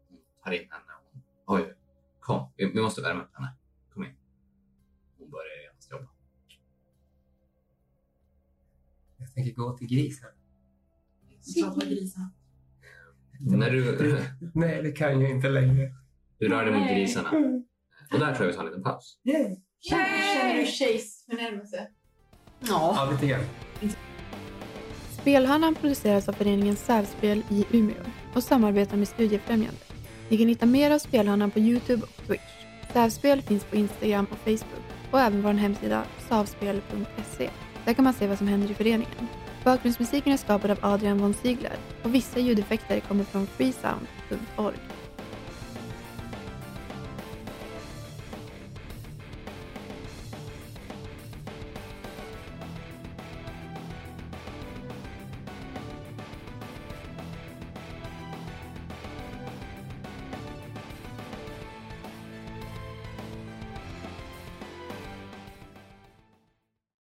S3: Hon tar in henne och hon, oj, kom, vi vi måste värma upp henne. Kom in. Hon börjar genast jobba.
S4: Jag tänker gå till grisen.
S3: När du,
S6: Nej, det kan jag inte längre.
S3: du rör dig mot grisarna. Och där tror jag vi tar en liten paus.
S1: Känner du Chase förnärmelse?
S5: Ja.
S4: Ja, lite grann.
S8: Spelhörnan produceras av föreningen Sävspel i Umeå och samarbetar med Studiefrämjande. Ni kan hitta mer av Spelhörnan på Youtube och Twitch. Sävspel finns på Instagram och Facebook och även vår hemsida savspel.se. Där kan man se vad som händer i föreningen. Bakgrundsmusiken är skapad av Adrian von Ziegler och vissa ljudeffekter kommer från freesound.org.